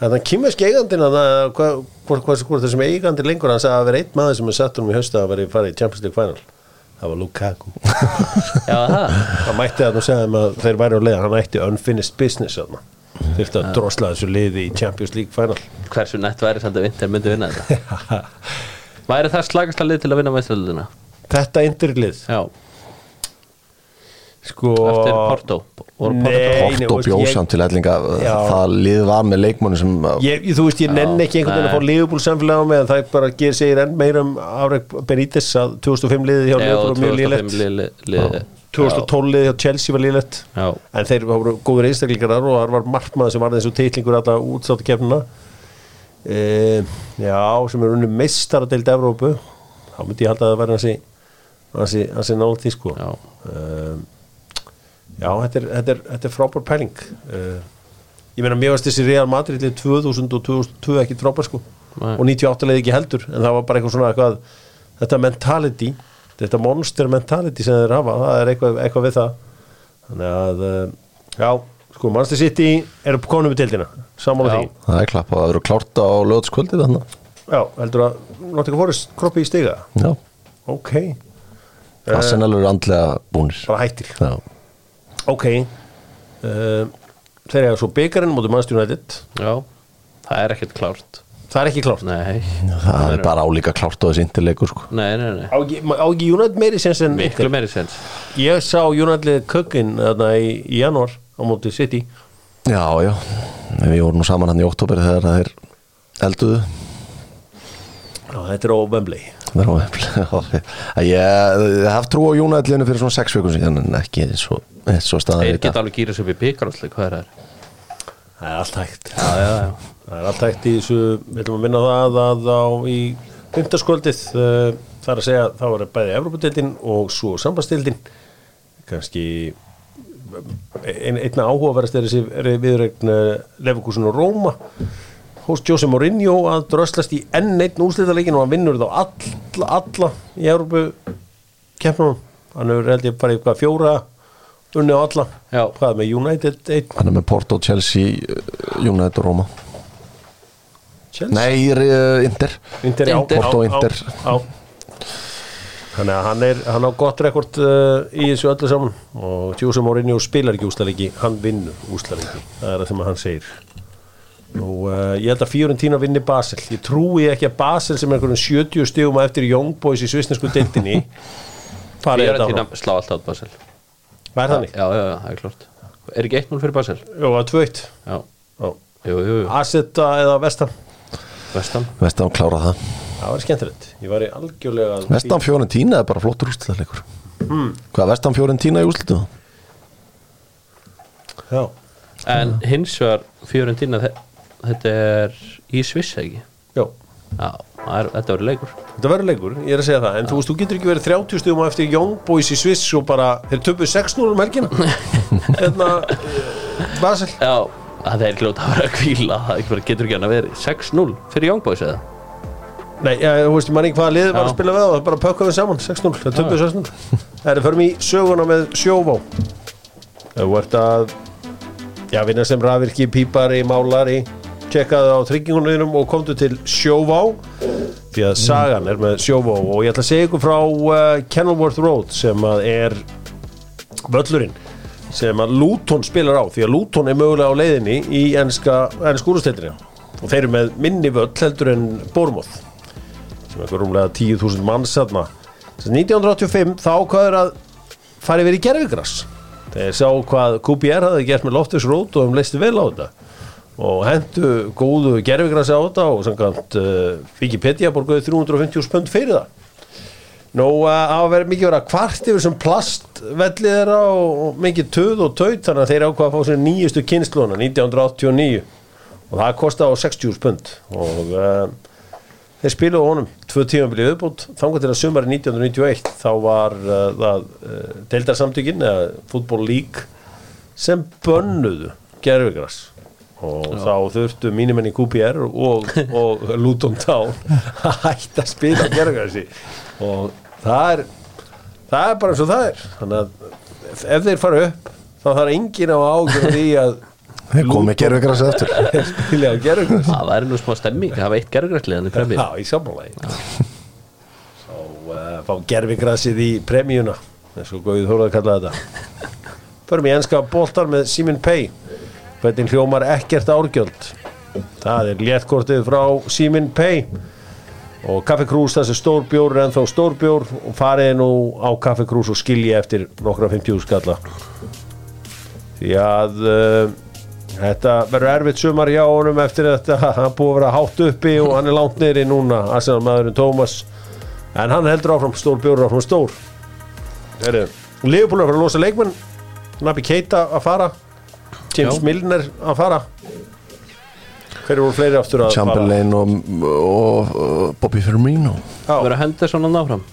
[SPEAKER 1] Þannig að kýmverski eigandinn að hvað hvort hva, hva, þessum eigandi lengur hann sagði að vera einn maður sem er satt um í hausta að vera í farið í Champions League Final það var Lukaku
[SPEAKER 2] já, það,
[SPEAKER 1] hann mætti að nú segja þeim að þeir væri á leið hann mætti unfinished business þarna þurfti að drosla þessu liði í Champions League Final
[SPEAKER 2] hversu nett væri samt að vinter myndi vinna þetta væri það slagast að lið til að vinna meistralöldina
[SPEAKER 1] þetta indurlið
[SPEAKER 2] já,
[SPEAKER 1] sko
[SPEAKER 2] eftir Porto voru Porto-
[SPEAKER 1] Nei, nei,
[SPEAKER 3] Porto
[SPEAKER 1] veist,
[SPEAKER 3] bjóð
[SPEAKER 1] ég-
[SPEAKER 3] samt til ætlinga
[SPEAKER 1] Já.
[SPEAKER 3] það lið var með leikmönnum sem uh,
[SPEAKER 1] Ég, ég- þú veist, ég nenni ekki einhvern veginn að fá Liverpool samfélag á mig en það bara ger segir enn meira um Afrek Benítez að 2005 liðið hjá
[SPEAKER 2] Já,
[SPEAKER 1] Liverpool var mjög
[SPEAKER 2] 2005
[SPEAKER 1] lýlegt
[SPEAKER 2] lið- lið- já.
[SPEAKER 1] 2012 liðið hjá Chelsea var lýlegt
[SPEAKER 2] Já.
[SPEAKER 1] en þeir voru góður einstaklingar og það var markmaður sem var þessu titlingur alltaf útstáttu kefnina e, já, sem er unni meistar að deildi Evrópu þá myndi ég halda að það væri hansi hansi, hansi nála til sko
[SPEAKER 2] Já.
[SPEAKER 1] um, já, þetta er, þetta er, þetta er frábær pæling uh, ég meina mér varst þessi Real Madrid lið 2000 og 2002 ekki frábær sko
[SPEAKER 2] Nei.
[SPEAKER 1] og 98 leið ekki heldur en það var bara eitthvað svona eitthvað þetta mentality, þetta monster mentality sem þeir hafa, það er eitthvað, eitthvað við það þannig að uh, já, sko, Manchester City eru konum í deildina, sammála
[SPEAKER 2] Já.
[SPEAKER 1] því
[SPEAKER 3] það er klappa að vera klárt á lögutskvöldi þannig
[SPEAKER 1] já, heldur að, náttu ekki fórist kroppi í stiga,
[SPEAKER 3] Já,
[SPEAKER 1] ok
[SPEAKER 3] Arsenal eru andlega búnir
[SPEAKER 1] Eh. bara hættir
[SPEAKER 3] Já,
[SPEAKER 1] ok uh, þeir eru svo byggarinn mútið Manchester United
[SPEAKER 2] já, það er ekkert klárt
[SPEAKER 1] það er ekki klárt
[SPEAKER 2] nei,
[SPEAKER 3] það er bara álíka klárt á þessi interleikur sko.
[SPEAKER 2] nei, nei, nei.
[SPEAKER 1] á ekki á ekki United meiri sens en
[SPEAKER 2] miklu meiri sens
[SPEAKER 1] ég sá United kökinn þarna í, í janúar á mútið City
[SPEAKER 3] Já, já, En við vorum nú saman hann í oktober þegar það er elduðu
[SPEAKER 1] já, þetta er á Wembley
[SPEAKER 3] Það er á Wembley. Já, Ég ég hef trú á Jónæðlinu fyrir svona sex vikum síðan en ekki eins og, eins og staðan
[SPEAKER 2] þeir
[SPEAKER 3] í dag.
[SPEAKER 2] geta alveg gýra sér upp í byggarúsleik hvað er það?
[SPEAKER 1] það er allt hægt
[SPEAKER 2] Já, já, já.
[SPEAKER 1] það er allt hægt í þessu við ætlum að minna á það að á í fymtaskvöldið uh, það er að segja þá er bæði Evropadeildin og svo sambastildin kannski ein, einna áhugaverðast er þessi viðregn Lefakusin og Róma hos Jose Mourinho að dröslast í enn einn úrslitaleikin og hann vinnur þá alla, alla í Európu keppnum hann hefur held ég bara eitthvað fjóra unni á alla
[SPEAKER 2] Já.
[SPEAKER 1] hvað með United einn
[SPEAKER 3] Hann er með Porto, Chelsea, Jónæðl og Róma.
[SPEAKER 1] Chelsea
[SPEAKER 3] Nei, uh, Inter.
[SPEAKER 1] Inter, já,
[SPEAKER 2] Inter.
[SPEAKER 1] já,
[SPEAKER 3] Porto
[SPEAKER 1] já,
[SPEAKER 3] Inter.
[SPEAKER 1] já. Þannig að hann, er, hann á gott rekord uh, í þessu öllu saman og Tjósum Mourinho spilar ekki úslaliki hann vinnur úslaliki, það er það sem hann segir og uh, ég held að Fiorentina vinni Basel, ég trúi ekki að Basel sem er einhverjum 70 stigum á eftir Young Boys í svisnesku deildinni farið þetta
[SPEAKER 2] Fiorentina
[SPEAKER 1] áfram.
[SPEAKER 2] slá alltaf át Basel
[SPEAKER 1] Það er þannig,
[SPEAKER 2] já, já, já, það er klárt er ekki 1-0 fyrir Basel?
[SPEAKER 1] já, það er tvöitt
[SPEAKER 2] já, jú, jú,
[SPEAKER 1] Ah.
[SPEAKER 2] jú.
[SPEAKER 1] Aseta eða Vestam,
[SPEAKER 2] vestam
[SPEAKER 3] Vestam klára það.
[SPEAKER 1] það var skemmtilegt ég var í algjörlega
[SPEAKER 3] Vestam Fiorentina er bara flottur úrslitaleikur. Hvað, Vestam Fiorentina í úrslitum?
[SPEAKER 1] já,
[SPEAKER 2] en hins vegar Fiorentina þe- þetta er í Sviss ekki
[SPEAKER 1] já
[SPEAKER 2] já, það er, þetta verður leikur
[SPEAKER 1] Þetta verður leikur, ég er að segja það En þú veist, þú getur ekki verið 30 stugum eftir Young Boys í Sviss og bara, þeir töpuð 6-0 um helgina Hérna eh, Basel
[SPEAKER 2] já, það er glóta að vera að kvíla það ekki bara getur ekki hann að vera 6-0 fyrir Young Boys eða
[SPEAKER 1] Nei, ja, þú veist, ég man ekki hvaða liðið var
[SPEAKER 2] Já.
[SPEAKER 1] að spila við og það bara pökkaði saman, 6-0, þeir töpuð 6-0 Það er, förum í söguna með sjóvá Þú ert að Já, vinna sem rafirki, pípari, málari Tjekkaðu á tryggingunum og komdu til sjóvá Því að sagan er með sjóvá og ég ætla að segja ykkur frá uh, Kenilworth Road sem að er völlurinn sem að Luton spilar á því að Luton er mögulega á leiðinni í ennska, ennsk úrstættina og þeir eru með minni völl heldur en Bormoth sem er rúmlega 10.000 manns þarna Sem 1985 þá hvaður að fara yfir í gerfigras þeir sá hvað QPR hafði gert með Loftus Road og þeim leistu vel á þetta og hendu góðu gerfigrasi á þetta og samkvæmt uh, Wikipedia borgaði 350 spönd fyrir það Nú eh, að hafa verið mikið verið að kvart yfir sem plastvelli þeirra og, og mikið töð og taut þannig að þeir ákvaða að fá sér nýjustu kynnslóna 1989 og það kostaði á 60 spönd og uh, þeir spiluðu á honum tvö tímanbili viðbútt þangar til að sumari 1991 þá var uh, það uh, deildarsamtökin eða fútból lík sem bönnuðu gerfigras og þá þurftu mínimenn í QPR og, og Luton Town að hætta að spila gerfigrasi og það er það er bara eins og það er þannig að ef- ef þeir fara upp þá þarf enginn á ágjörði því að
[SPEAKER 3] Þeir komið gerfugrasið eftir
[SPEAKER 1] þeir spila á gerfigras
[SPEAKER 2] Það væri nú smá stemming, það var eitt gerðgræsliðan í premjör
[SPEAKER 1] Já, í sammálaði Svo uh, fá gerfigrasið í premjuna eins og Gauði Þóraði kallaði þetta Förum í enska boltar með Simin Pay Hvernig hljómar ekkert árgjöld Það er léttkortið frá Simin Pay og Kaffi Krús þessi stórbjór er ennþá stórbjór og fariði nú á Kaffi Krús og skilji eftir nokkra 50 skalla því að uh, þetta verður erfitt sumar hjá honum eftir þetta, hann er búið að vera hátt uppi og hann er langt niðri núna, Arsenal maðurinn Tómas en hann heldur áfram stór bjóður áfram stór Heru, Leifbúl er að fara að losa leikmenn Nabi Keita að fara James
[SPEAKER 2] Já.
[SPEAKER 1] Milner að fara hverju voru fleiri aftur að
[SPEAKER 3] Chamberlain og, og, og Bobby Firmino
[SPEAKER 1] fara
[SPEAKER 2] Verður að henda svona náfram,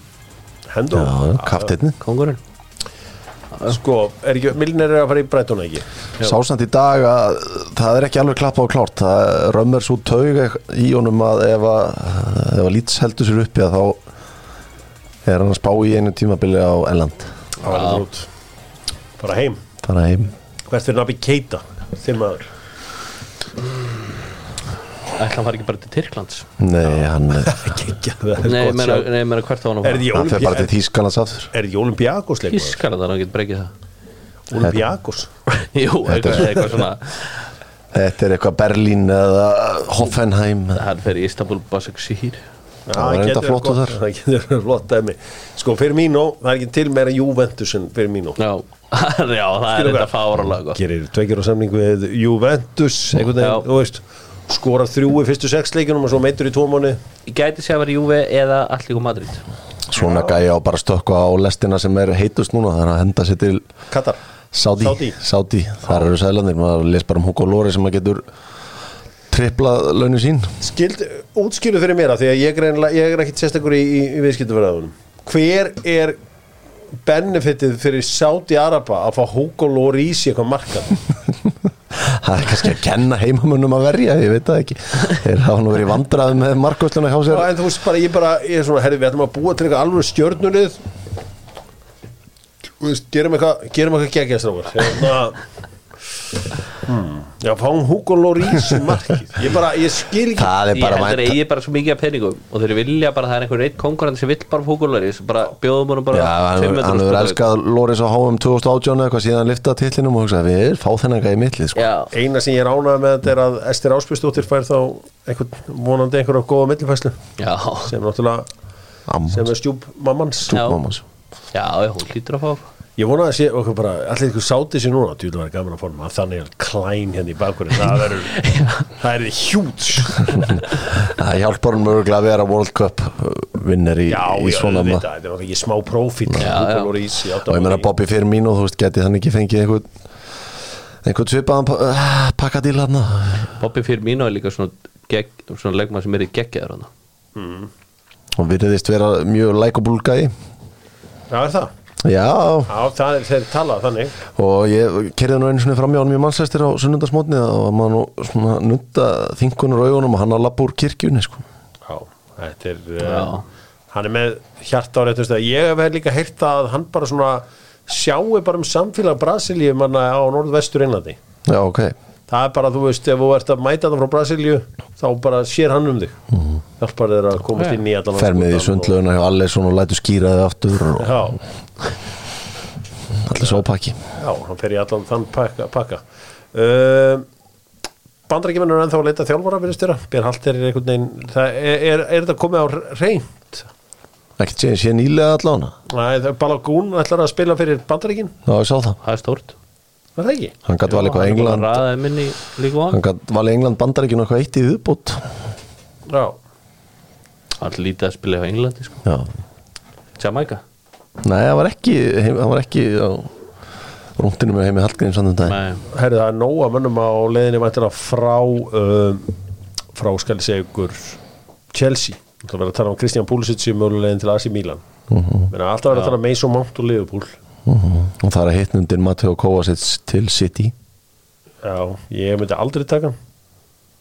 [SPEAKER 1] Já, hendur
[SPEAKER 3] Já, kaftinni
[SPEAKER 2] kongurinn
[SPEAKER 1] sko, er ekki, Milner er að fara í Breitona ekki
[SPEAKER 3] Sásand í dag að það er ekki alveg klappa og klárt það römmur svo taug í honum að ef að, ef að lýts heldur sér uppi að þá er hann að spá í einu tímabili á Elland
[SPEAKER 1] Það var alveg út. bara heim
[SPEAKER 3] þannig að heim
[SPEAKER 1] hvert fyrir Nabi Keita þeim maður
[SPEAKER 2] Ætla hann fari ekki bara til Tyrklands
[SPEAKER 3] Nei, hann,
[SPEAKER 2] Nei, ég meina,
[SPEAKER 1] er
[SPEAKER 2] nei, ég meina hvert á hann að
[SPEAKER 1] Er því-
[SPEAKER 2] fara
[SPEAKER 3] hann fer bara til Þýskalands aftur
[SPEAKER 1] er ekki Olympiakos leikur
[SPEAKER 2] Ískar að hann getur breykið það
[SPEAKER 1] Olympiakos
[SPEAKER 2] Jú, eitthvað, eitthvað svona
[SPEAKER 3] Þetta er eitthvað Berlín eða Hoffenheim
[SPEAKER 2] Hann fer í Istanbul Basaksehir
[SPEAKER 1] Já,
[SPEAKER 3] Það er enda
[SPEAKER 1] getur
[SPEAKER 3] flott
[SPEAKER 1] gott-
[SPEAKER 3] þar.
[SPEAKER 1] það getur verið flott dæmi sko fyrir mínu það er ekki til meira Juventus en fyrir mínu
[SPEAKER 2] Já, já það er
[SPEAKER 1] Skilur
[SPEAKER 2] þetta
[SPEAKER 1] hvað?
[SPEAKER 2] fáralega gott
[SPEAKER 1] gerir tveikir á samning við Juventus einhvern
[SPEAKER 2] Já.
[SPEAKER 1] veginn þú veist skora þrjú í fyrstu sex leikunum og svo meitur í tvo mánu
[SPEAKER 2] Ég gæti sé að vera Juve eða Allíku Madrid
[SPEAKER 3] Svona gæja á bara stökka á lestina sem er heitust núna það er að henda sér til
[SPEAKER 1] Katar Saudi.
[SPEAKER 3] Saudi, Saudi. þar eru sælandir maður les bara um Hugo Lóri sem að getur triplað launum sín
[SPEAKER 1] Skild, útskilu fyrir mér að því að ég, greinlega- ég er ekkit sérstakur í, í, í viðskiptafræðunum hver er benefitið fyrir Saudi Araba að fá Hugo Lloris í eitthvað markað
[SPEAKER 3] Það er kannski að kenna heimamönnum að verja, ég veit það ekki. Þeir hafa nú verið vandræðum með markvölduna hjá sér.
[SPEAKER 1] Já, en þú veist bara, ég bara, ég er svona, herri, við ætlum að búa til eitthvað alveg stjörnulið Þú veist, gerum eitthvað, gerum eitthvað geggjastrákar Hérna hmm. Já, fáum Hugo Lloris í markið Ég bara, ég skil ekki
[SPEAKER 3] Það er
[SPEAKER 2] Ég
[SPEAKER 3] bara
[SPEAKER 2] heldur að
[SPEAKER 3] vænt.
[SPEAKER 2] ég er bara svo mikið af peningum og þeir vilja bara að það er einhver reitt konkurrent sem vill bara fúkulari sem bara bjóðum honum bara
[SPEAKER 3] Já, hann
[SPEAKER 2] fimm
[SPEAKER 3] hefur-
[SPEAKER 2] metra
[SPEAKER 3] hann hefur
[SPEAKER 2] skotum.
[SPEAKER 3] elskað Loris á HM 2018 eitthvað síðan hann lyfta tillinum og hugsaði við fá þennan gæði mittlið sko.
[SPEAKER 2] Já,
[SPEAKER 1] Eina sem ég er ánægð með þetta er að Ester Áspjöstóttir fær þá einhvern, vonandi einhverja góða millifæslu
[SPEAKER 2] já,
[SPEAKER 1] sem náttúrulega,
[SPEAKER 3] Amma,
[SPEAKER 1] sem er stjúb mammans
[SPEAKER 2] Já.
[SPEAKER 3] mamma sko. svo.
[SPEAKER 2] já, já, hún hlýtur að fá
[SPEAKER 1] Ég vona að sé okkur bara, allir ykkur sáti sér núna Þú vil vera gaman að forma að þannig er klæn hérna í bakurinn Það verður, það er hjúts
[SPEAKER 3] Það hjálpar hann mörgulega að vera World Cup uh, vinner í,
[SPEAKER 1] Já,
[SPEAKER 3] í
[SPEAKER 1] þetta,
[SPEAKER 3] svona maður.
[SPEAKER 1] þetta er náttúrulega ekki smá profil
[SPEAKER 2] Já, já.
[SPEAKER 3] Og ég meina Bobby Firmino, þú veist, geti hann ekki fengið einhvern einhvern svipaðan pa Ah, pakkadíl hann
[SPEAKER 2] Bobby Firmino er líka svona, gegg, svona leikmann sem er í geggjaður hann
[SPEAKER 3] og virðist vera mjög likeable gæði.
[SPEAKER 1] Það er það,
[SPEAKER 3] Já,
[SPEAKER 1] já, það er þeir talað þannig
[SPEAKER 3] og ég kerði nú einu svona fram hjá hann mjög mannsæstir á sunnundasmótni og maður nú svona nutta þingunar augunum og hann að lappa úr kirkjunni sko.
[SPEAKER 1] Já, þetta er
[SPEAKER 2] Já.
[SPEAKER 1] uh, Hann er með hjarta á réttum stað Ég hef líka heyrt að hann bara svona sjáu bara um samfélag Brasilíu manna á norðvestur Englandi
[SPEAKER 3] Já, ok.
[SPEAKER 1] Það er bara, þú veist, ef þú ert að mæta það frá Brasilíu þá bara sér hann um þig Hjálpar þeir að komast
[SPEAKER 2] Já.
[SPEAKER 1] inn í allan
[SPEAKER 3] Mhm. Fer með í
[SPEAKER 1] landsbútan og-
[SPEAKER 3] sundlauna hjá Allesson og lætur skýra þið aftur og
[SPEAKER 1] Já,
[SPEAKER 3] allir sópakki.
[SPEAKER 1] Já, hann fer í allan þann pakka, pakka. Uh, Bandarækjumenn er ennþá að leita þjálfara fyrir styrra, Bér Halter er einhvern veginn það er, er, er þetta komið á reynd
[SPEAKER 3] Ekkert séðan sé nýlega allána.
[SPEAKER 1] Balagún ætlar að spila fyrir Bandarækin
[SPEAKER 3] Já, ég sá það.
[SPEAKER 2] Það er stórt
[SPEAKER 1] var það ekki?
[SPEAKER 3] Hann gæti valið eitthvað England,
[SPEAKER 2] Ræðaði minni líka á
[SPEAKER 3] hann gæti valið England bandaríkinu eitthvað eitt í viðbútt.
[SPEAKER 1] Já,
[SPEAKER 2] Hann lítið að spila hjá Englandi sko.
[SPEAKER 3] Já.
[SPEAKER 2] Jamaica
[SPEAKER 3] Nei, hann var ekki, hann var ekki á rúndinu með heimi Hallgríms annan dag.
[SPEAKER 2] Nei,
[SPEAKER 1] herri það er nóga mönnum á leiðinni væntanlega frá um, frá skal segja ykkur ehm, Chelsea Það verður að tala um Kristján Púlisic sem mögulegin til Asi Mílan mm -hmm. Alltaf verður að tala um Mason Mount og Liverpool
[SPEAKER 3] og það er að hitnundin Mateo Kovacic til City
[SPEAKER 1] Já, ég myndi aldrei taka hann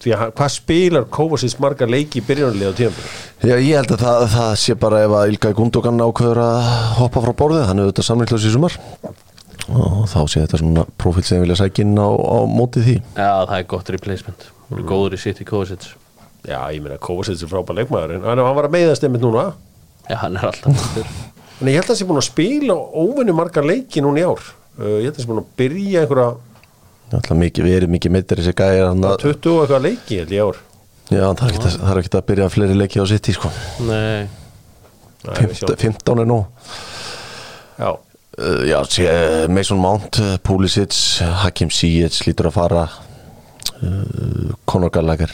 [SPEAKER 1] Því að hann- hvað spilar Kovacic marga leiki í byrjunarlið á tíðanbyrjun?
[SPEAKER 3] Já, ég held að það, það sé bara ef að Ilga Gundogan ákveður að hoppa frá borðið, hann er auðvitað samlinglös í sumar og þá sé þetta svona profil sem vilja sækja inn á, á móti því
[SPEAKER 2] Já, það er gott replacement mm. Góður í City Kovacic
[SPEAKER 1] Já, ég meina Kovacic er frábær leikmaður en hann hann var að meiðast einmitt núna
[SPEAKER 2] Já, hann er alltaf bestur.
[SPEAKER 1] En ég held að það sé búin að spila óvinni marga leiki núna í ár uh, Ég held að það sé búin að byrja einhverja
[SPEAKER 3] Alltaf mikið, við erum mikið meittir þessi gæðir hann að,
[SPEAKER 1] 20 og eitthvað leiki held ég í ár
[SPEAKER 3] já, það er ekkert að, það er ekkert að byrja fleiri leiki á City, sko
[SPEAKER 2] Nei,
[SPEAKER 1] Nei, við
[SPEAKER 3] Fimt,
[SPEAKER 1] sjáum.
[SPEAKER 3] 15 er nóg
[SPEAKER 1] Já,
[SPEAKER 3] Uh, Já, sé, eh, Mason Mount, eh, Pulisic, eh, Hakim Ziyech lítur að fara uh, Conor Gallagher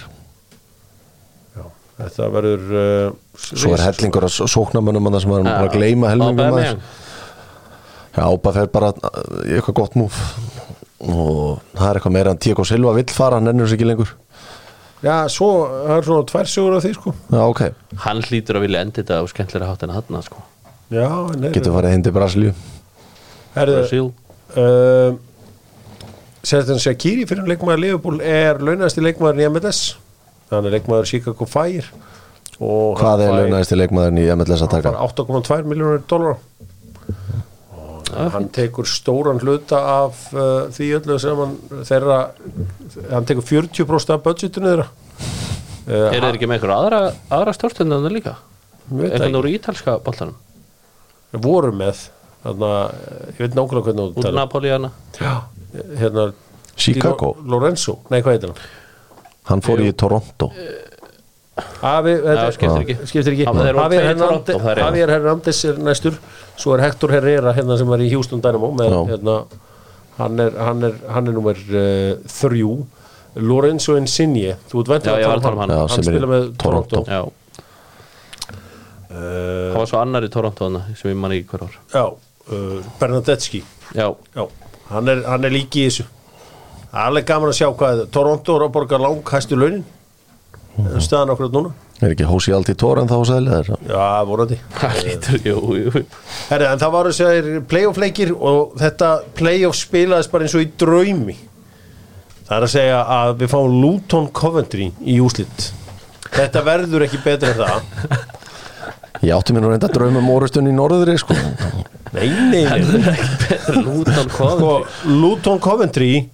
[SPEAKER 1] já Þetta verður uh,
[SPEAKER 3] Svo er hellingur að sóknamönnum að það sem við erum búin að gleyma helmingum að
[SPEAKER 2] Aubameyang.
[SPEAKER 3] þess Já, Ába fer bara eh, í eitthvað gott múf og það er eitthvað meira en Diego Silva vill fara, hann ennur sér ekki lengur
[SPEAKER 1] Já, svo það er svona tvær sögur af því sko
[SPEAKER 3] Já, ok,
[SPEAKER 2] Hann hlýtur að vilja endi þetta á skemmtilega hátt en hann sko.
[SPEAKER 1] Já, en er,
[SPEAKER 3] getur farið hindi Brasilíu
[SPEAKER 1] Herðu,
[SPEAKER 2] Brasil
[SPEAKER 1] uh, Sertan Shakiri fyrir leikmaður Liverpool er launasti leikmaður í MLS hann er leikmaður Chicago Fire og
[SPEAKER 3] Hvað er
[SPEAKER 1] hann
[SPEAKER 3] launaðist í leikmaðurinn í MLS að
[SPEAKER 1] fær-
[SPEAKER 3] taka?
[SPEAKER 1] hann fær 8,2 miljónur dólar hann tekur stóran hluta af uh, því öllu sem hann þeirra hann tekur 40% af budgetinu þeirra
[SPEAKER 2] Er
[SPEAKER 1] uh,
[SPEAKER 2] þeir ekki með einhver aðra, aðra stórstendana líka?
[SPEAKER 1] Veit það
[SPEAKER 2] Einhvern úr ítalska boltanum
[SPEAKER 1] hann voru með þarna, eh, ég veit nákvæmlega hvernig þú
[SPEAKER 2] Úr
[SPEAKER 1] talar.
[SPEAKER 2] Napoli hana
[SPEAKER 1] Já, hérna
[SPEAKER 3] Chicago,
[SPEAKER 1] Di Lo- Lorenzo, nei hvað heitir hann
[SPEAKER 3] hann fór í Toronto
[SPEAKER 1] Afi,
[SPEAKER 2] Já, skiptir ekki.
[SPEAKER 1] skiptir ekki.
[SPEAKER 2] Já, það
[SPEAKER 1] Javier
[SPEAKER 2] er ótrúlega
[SPEAKER 1] Hernande-
[SPEAKER 2] Toronto, það er
[SPEAKER 1] Javier Hernandez er næstur svo er Hector Herrera hérna sem var í Houston Dynamo með,
[SPEAKER 3] Já.
[SPEAKER 1] hérna, hann er hann er, hann er númer uh, þrjú Lorenzo Insigne þú ert
[SPEAKER 2] Já,
[SPEAKER 1] væntanlega
[SPEAKER 2] ég var
[SPEAKER 1] að
[SPEAKER 2] að tala um hann.
[SPEAKER 3] Já,
[SPEAKER 1] hann
[SPEAKER 3] sem er í
[SPEAKER 1] spilar með Toronto,
[SPEAKER 3] Toronto.
[SPEAKER 2] Já, það var svo annar í Toronto hana sem ég manni ekki hver var
[SPEAKER 1] Já, uh, Bernadetski
[SPEAKER 2] Já,
[SPEAKER 1] Já, hann er, hann er líki í þessu Það er alveg gaman að sjá hvað er. Toronto er að borga langhæstu launin mm. staðan okkur núna
[SPEAKER 3] Er ekki hósi allt í Toran þá sæðilega þess
[SPEAKER 1] Já, vorandi
[SPEAKER 2] það hlýtur, jú, jú
[SPEAKER 1] Herri, en það var þess að playoff leikir og þetta playoff spilaðist bara eins og í draumi Það er að segja að við fáum Luton Coventry í úslit Þetta verður ekki betur en það
[SPEAKER 3] Ég átti mér nú reynda að drauma um orustun í norðri sko.
[SPEAKER 1] Nei, nei, nei
[SPEAKER 2] Lútan
[SPEAKER 1] sko,
[SPEAKER 2] hvað
[SPEAKER 1] Luton Coventry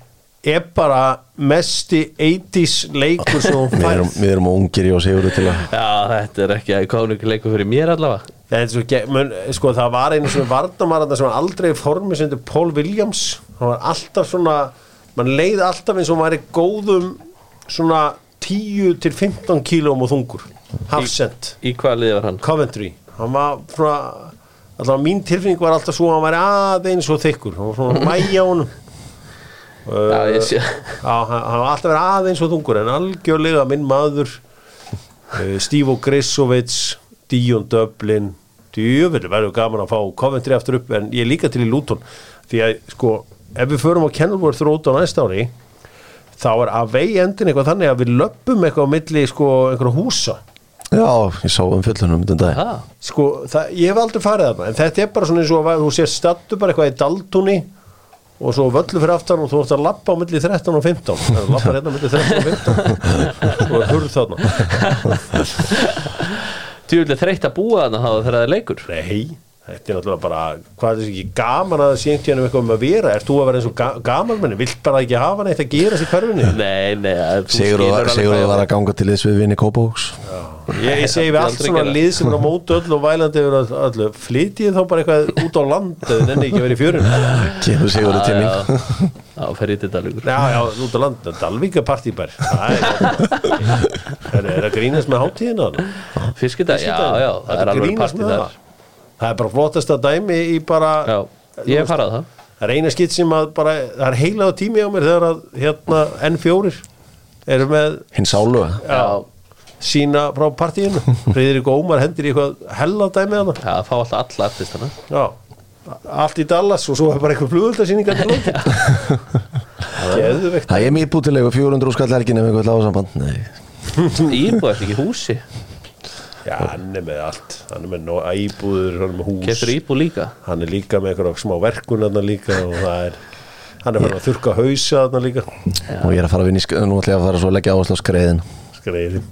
[SPEAKER 1] er bara mesti 80s leikur sem hún
[SPEAKER 3] við, erum,
[SPEAKER 1] færð
[SPEAKER 3] við erum ungir í og sigur til að
[SPEAKER 2] Já, þetta er ekki að kominu ekki leikur fyrir mér allavega
[SPEAKER 1] Þetta er svo ge- mun- sko, það var einu svona varnamaranda sem var aldrei í formi sem þetta Paul Williams hann var alltaf svona mann leið alltaf eins og hann væri góðum svona 10 til 15 kílóm og þungur hafsend,
[SPEAKER 2] Í hvað liði var hann?
[SPEAKER 1] Coventry hann var svona allavega mín tilfinning var alltaf svo að hann væri aðeins og þykkur hann var svona mæja honum
[SPEAKER 2] Já, ég sé
[SPEAKER 1] Já, hann hann var alltaf verið aðeins og þungur en algjörlega minn maður uh, Stívo Grissovits Díon Döblin djöfell verður gaman að fá Coventry aftur upp en ég er líka til í Luton því að sko, ef við förum á Kenilworth Road á næsta ári þá er að vei endin eitthvað þannig að við löppum eitthvað á milli sko einhverja húsa
[SPEAKER 3] Já, ég sá um fjöllunum um dag
[SPEAKER 2] Það,
[SPEAKER 1] sko, það, ég hef aldrei farið þarna en þetta er bara svona eins og að þú sér stattu bara eitthvað í Daltoni og svo völlu fyrir aftan og þú ert að lappa á milli 13 og 15 það lappa hérna á milli 13 og 15 og er hurð þarna
[SPEAKER 2] djúlega þreytt að búa þarna þá þegar það er leikur
[SPEAKER 1] nei, þetta er náttúrulega bara hvað er þessi ekki gaman að það sé einhvern veginn um eitthvað um að vera ert þú að vera eins og ga gamalmenni, vilt bara ekki hafa neitt að gera sér hverfinu
[SPEAKER 2] Nei, nei, að þú
[SPEAKER 3] Sigur
[SPEAKER 2] skilur alveg hvað
[SPEAKER 3] það
[SPEAKER 2] ég
[SPEAKER 3] var
[SPEAKER 2] var.
[SPEAKER 3] að ganga til þess við vinni Kópavóks
[SPEAKER 1] ég, ég segi við
[SPEAKER 2] Aldrei
[SPEAKER 1] allt svona
[SPEAKER 2] gera.
[SPEAKER 1] lið sem er á mótu öll og vælandi yfir öll- öllu, flytjið þá bara eitthvað út á land eða nenni ekki að vera í fjörinu
[SPEAKER 3] Kemur Sigur til
[SPEAKER 2] Já,
[SPEAKER 3] mín
[SPEAKER 2] já. Já, fer í þetta líkur
[SPEAKER 1] Já, já, út á land, Dalvík er partýbær Það er Það er að grínast með hátíðina þarna.
[SPEAKER 2] Fiskidag, já,
[SPEAKER 1] Fiskidaginn.
[SPEAKER 2] já, það er
[SPEAKER 1] að
[SPEAKER 2] alveg
[SPEAKER 1] grínast
[SPEAKER 2] partí
[SPEAKER 1] með
[SPEAKER 2] þar
[SPEAKER 1] það Það er bara flottasta dæmi í bara
[SPEAKER 2] Já, ég hef farað það
[SPEAKER 1] Það er eina skitt sem að bara Það er heilaðu tími á mér þegar að hérna N4 eru með
[SPEAKER 3] Hinn sálu
[SPEAKER 1] já, sína frá partíinu Friðrik Ómar hendir í eitthvað hella dæmi þarna
[SPEAKER 2] Já, það fá alltaf alla eftir þarna
[SPEAKER 1] Já Allt í Dallas og svo er bara eitthvað flugöldasýningar til lóti Geðvegt
[SPEAKER 3] Það er mér bútilegu 400 skall helgin ef einhvern lága samband Nei,
[SPEAKER 2] Íbúið ekki í húsi
[SPEAKER 1] Já, Já, hann er með allt Hann er með nó- íbúður, hann er með hús
[SPEAKER 2] Keftur íbú líka
[SPEAKER 1] Hann er líka með einhverja smá verkun þarna líka og það er Hann er bara að þurrka hausa þarna líka
[SPEAKER 3] og ég er að fara að vinna í sk- nú ætla ég að fara svo að leggja áherslu á skreiðin
[SPEAKER 1] skreiðin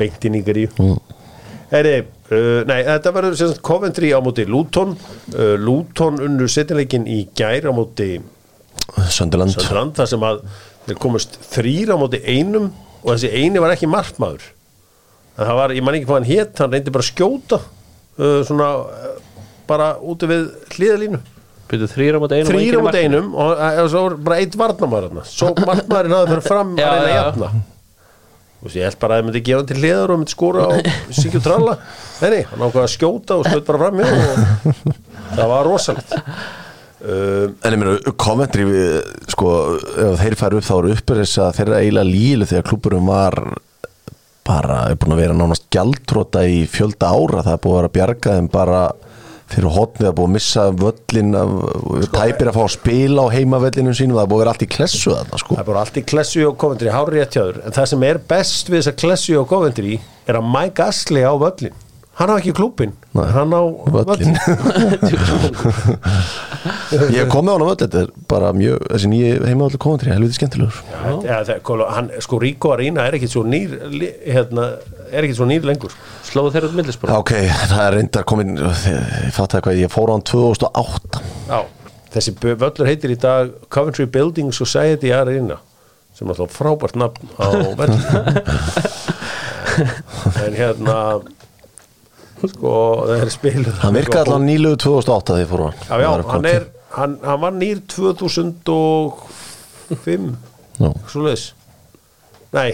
[SPEAKER 1] beint inn í gríu Heri, uh, nei, þetta verður sem sagt Coventry á móti Luton uh, Luton unnu setjanleikin í gær á móti
[SPEAKER 3] Sönderland
[SPEAKER 1] Söndrand þar sem að þeir komust þrýr á móti einum og þessi eini var ekki markmaður en það var, ég man ekki hvað hann hét hann reyndi bara að skjóta uh, svona uh, bara úti við hliðalínu
[SPEAKER 2] Byrju þrýra mot einum og enginn
[SPEAKER 1] þrýr á
[SPEAKER 2] í
[SPEAKER 1] móti
[SPEAKER 2] markinu.
[SPEAKER 1] einum og uh, svo var bara eitt varnamaður hann svo markmaðurinn hafði fyrir fram
[SPEAKER 2] Já,
[SPEAKER 1] að reyna að
[SPEAKER 2] já, já.
[SPEAKER 1] jafna og ég held bara að það myndi gefa hann til hliðar og myndi skora á Sigur Tralla nei, nei, hann ákvað að skjóta og stöð bara fram hjá og það var rosalegt um,
[SPEAKER 3] En ég meina, kommentri við, sko, ef þeir færu upp þá eru uppur þess að þeirra eiginlega lílu þegar klúburum var bara, er búin að vera nánast gjaldtróta í fjölda ára, það er búin að vera að bjarga þeim bara fyrir hotnið, það er búin að missa völlin, af, tæpir að fá að spila á heimavellinum sínum, það er búin að vera allt í klessu þarna, sko.
[SPEAKER 1] Það er bara allt í klessu og Coventry hárið rétt hjá þér en það sem er best við þessa klessu og Coventry er að Mike Astley á völlin hann á ekki klúbin,
[SPEAKER 3] Nei,
[SPEAKER 1] hann á
[SPEAKER 3] Völlin.
[SPEAKER 1] völlin
[SPEAKER 3] ég hef komið á hann á völlin, þetta er bara mjög, þessi nýju heimavelli kommentri, helviti skemmtilegur.
[SPEAKER 1] ja, það, kóla, hann, sko Rico Arena er ekkit svo nýr li- hérna, er ekkit svo nýr lengur
[SPEAKER 2] Slóðu þeirra út
[SPEAKER 3] Já,
[SPEAKER 2] millispor
[SPEAKER 3] Ok, það er reyndar komin, ég fatt hvað, ég fór á hann 2008,
[SPEAKER 1] Já. þessi bu- völlur heitir í dag Coventry Building Society Arena sem er alltaf frábært nafn á völlin en hérna sko það er spiluð
[SPEAKER 3] hann virkaði allan nýluðu 2008 þegar ég fór á hann.
[SPEAKER 1] Já, já,
[SPEAKER 3] Það var
[SPEAKER 1] hann,
[SPEAKER 3] gott.
[SPEAKER 1] er, hann, hann var nýr 2005
[SPEAKER 3] Já.
[SPEAKER 1] svo leis Nei,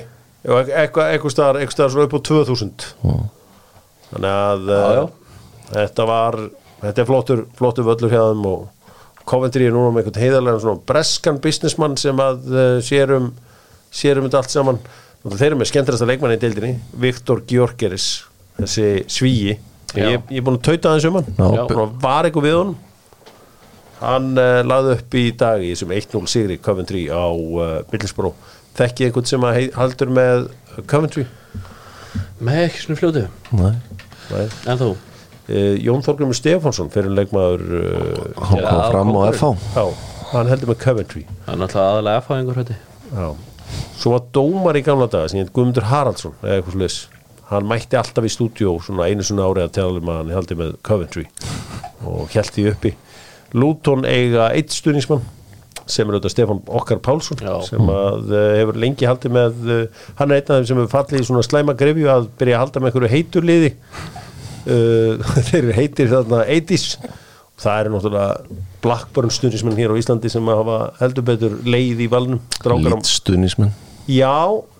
[SPEAKER 1] já, eit- eitthvað eitthvað staðar, eitthvað staðar svo upp á 2000 Þannig að já, þetta var þetta er flottur, flottur völlur hjá þeim og Coventry er núna með einhvern heiðarlegan svona breskan businessmann sem að uh, sér um sér um þetta allt saman og þeir eru með skemmtilegasta leikmann í deildinni Viktor Gjörgeris, þessi svíi
[SPEAKER 2] Já.
[SPEAKER 1] ég, ég er búin að tauta aðeins um hann
[SPEAKER 3] Já,
[SPEAKER 1] Já, og var eitthvað við honum hann uh, laði upp í dag í þessum 1-0 sigri Coventry á uh, Middlesbró þekkið einhvern sem að hei, haldur með Coventry
[SPEAKER 2] Með ekki svona fljótu
[SPEAKER 3] Nei.
[SPEAKER 1] Nei.
[SPEAKER 2] En þú
[SPEAKER 1] uh, Jón Þorgrymur Stefánsson fyrir leikmaður uh,
[SPEAKER 3] Hann kom
[SPEAKER 2] Já,
[SPEAKER 3] fram á
[SPEAKER 2] kóngurinn.
[SPEAKER 3] FH
[SPEAKER 1] já, hann heldur með Coventry
[SPEAKER 2] Það er náttúrulega aðalega aðfæðingur hætti
[SPEAKER 1] já. svo var dómar í gamla daga sem heit Guðmundur Haraldsson eða eitthvað slags hann mætti alltaf í stúdíó svona einu svona árið að tala um að hann heldur með Coventry og held því uppi Luton eiga eitt stuðningsmann sem er auðvitað Stefán Okkar Pálsson
[SPEAKER 2] Já.
[SPEAKER 1] sem að uh, hefur lengi haldið með uh, hann er einn af þeim sem hefur fallið í svona slæma grefju að byrja að halda með einhverju heitur liði uh, þeir eru heitir þarna 80s það eru náttúrulega Blackburn stuðnismenn hér á Íslandi sem hafa heldur betur leið í valnum strákar á
[SPEAKER 3] Lítstunismenn
[SPEAKER 1] Já,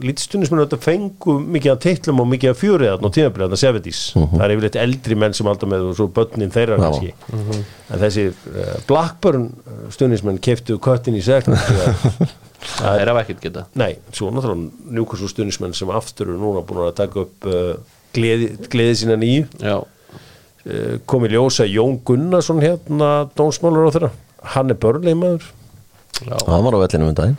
[SPEAKER 1] lítstunismenn auðvitað fengu mikið af teitlum og mikið af fjörið þarna á tímabilið, þarna 70s. Það er yfirleitt eldri menn sem alltaf með og svo börnin þeirra
[SPEAKER 3] Já.
[SPEAKER 1] kannski. En þessi uh, Blackburn eh, stunismenn keftu köttin í segn.
[SPEAKER 2] Það er af ekkert geta
[SPEAKER 1] Nei, svo náttúrulega njúkursu stunismenn sem aftur eru núna búin að taka upp uh, gleði, gleði sína nýju.
[SPEAKER 2] Já
[SPEAKER 1] Uh, kom í ljósa Jón Gunnarsson hérna, dónsmálur á þeirra. Hann er börnleimaður.
[SPEAKER 3] Hann var á vellinu um daginn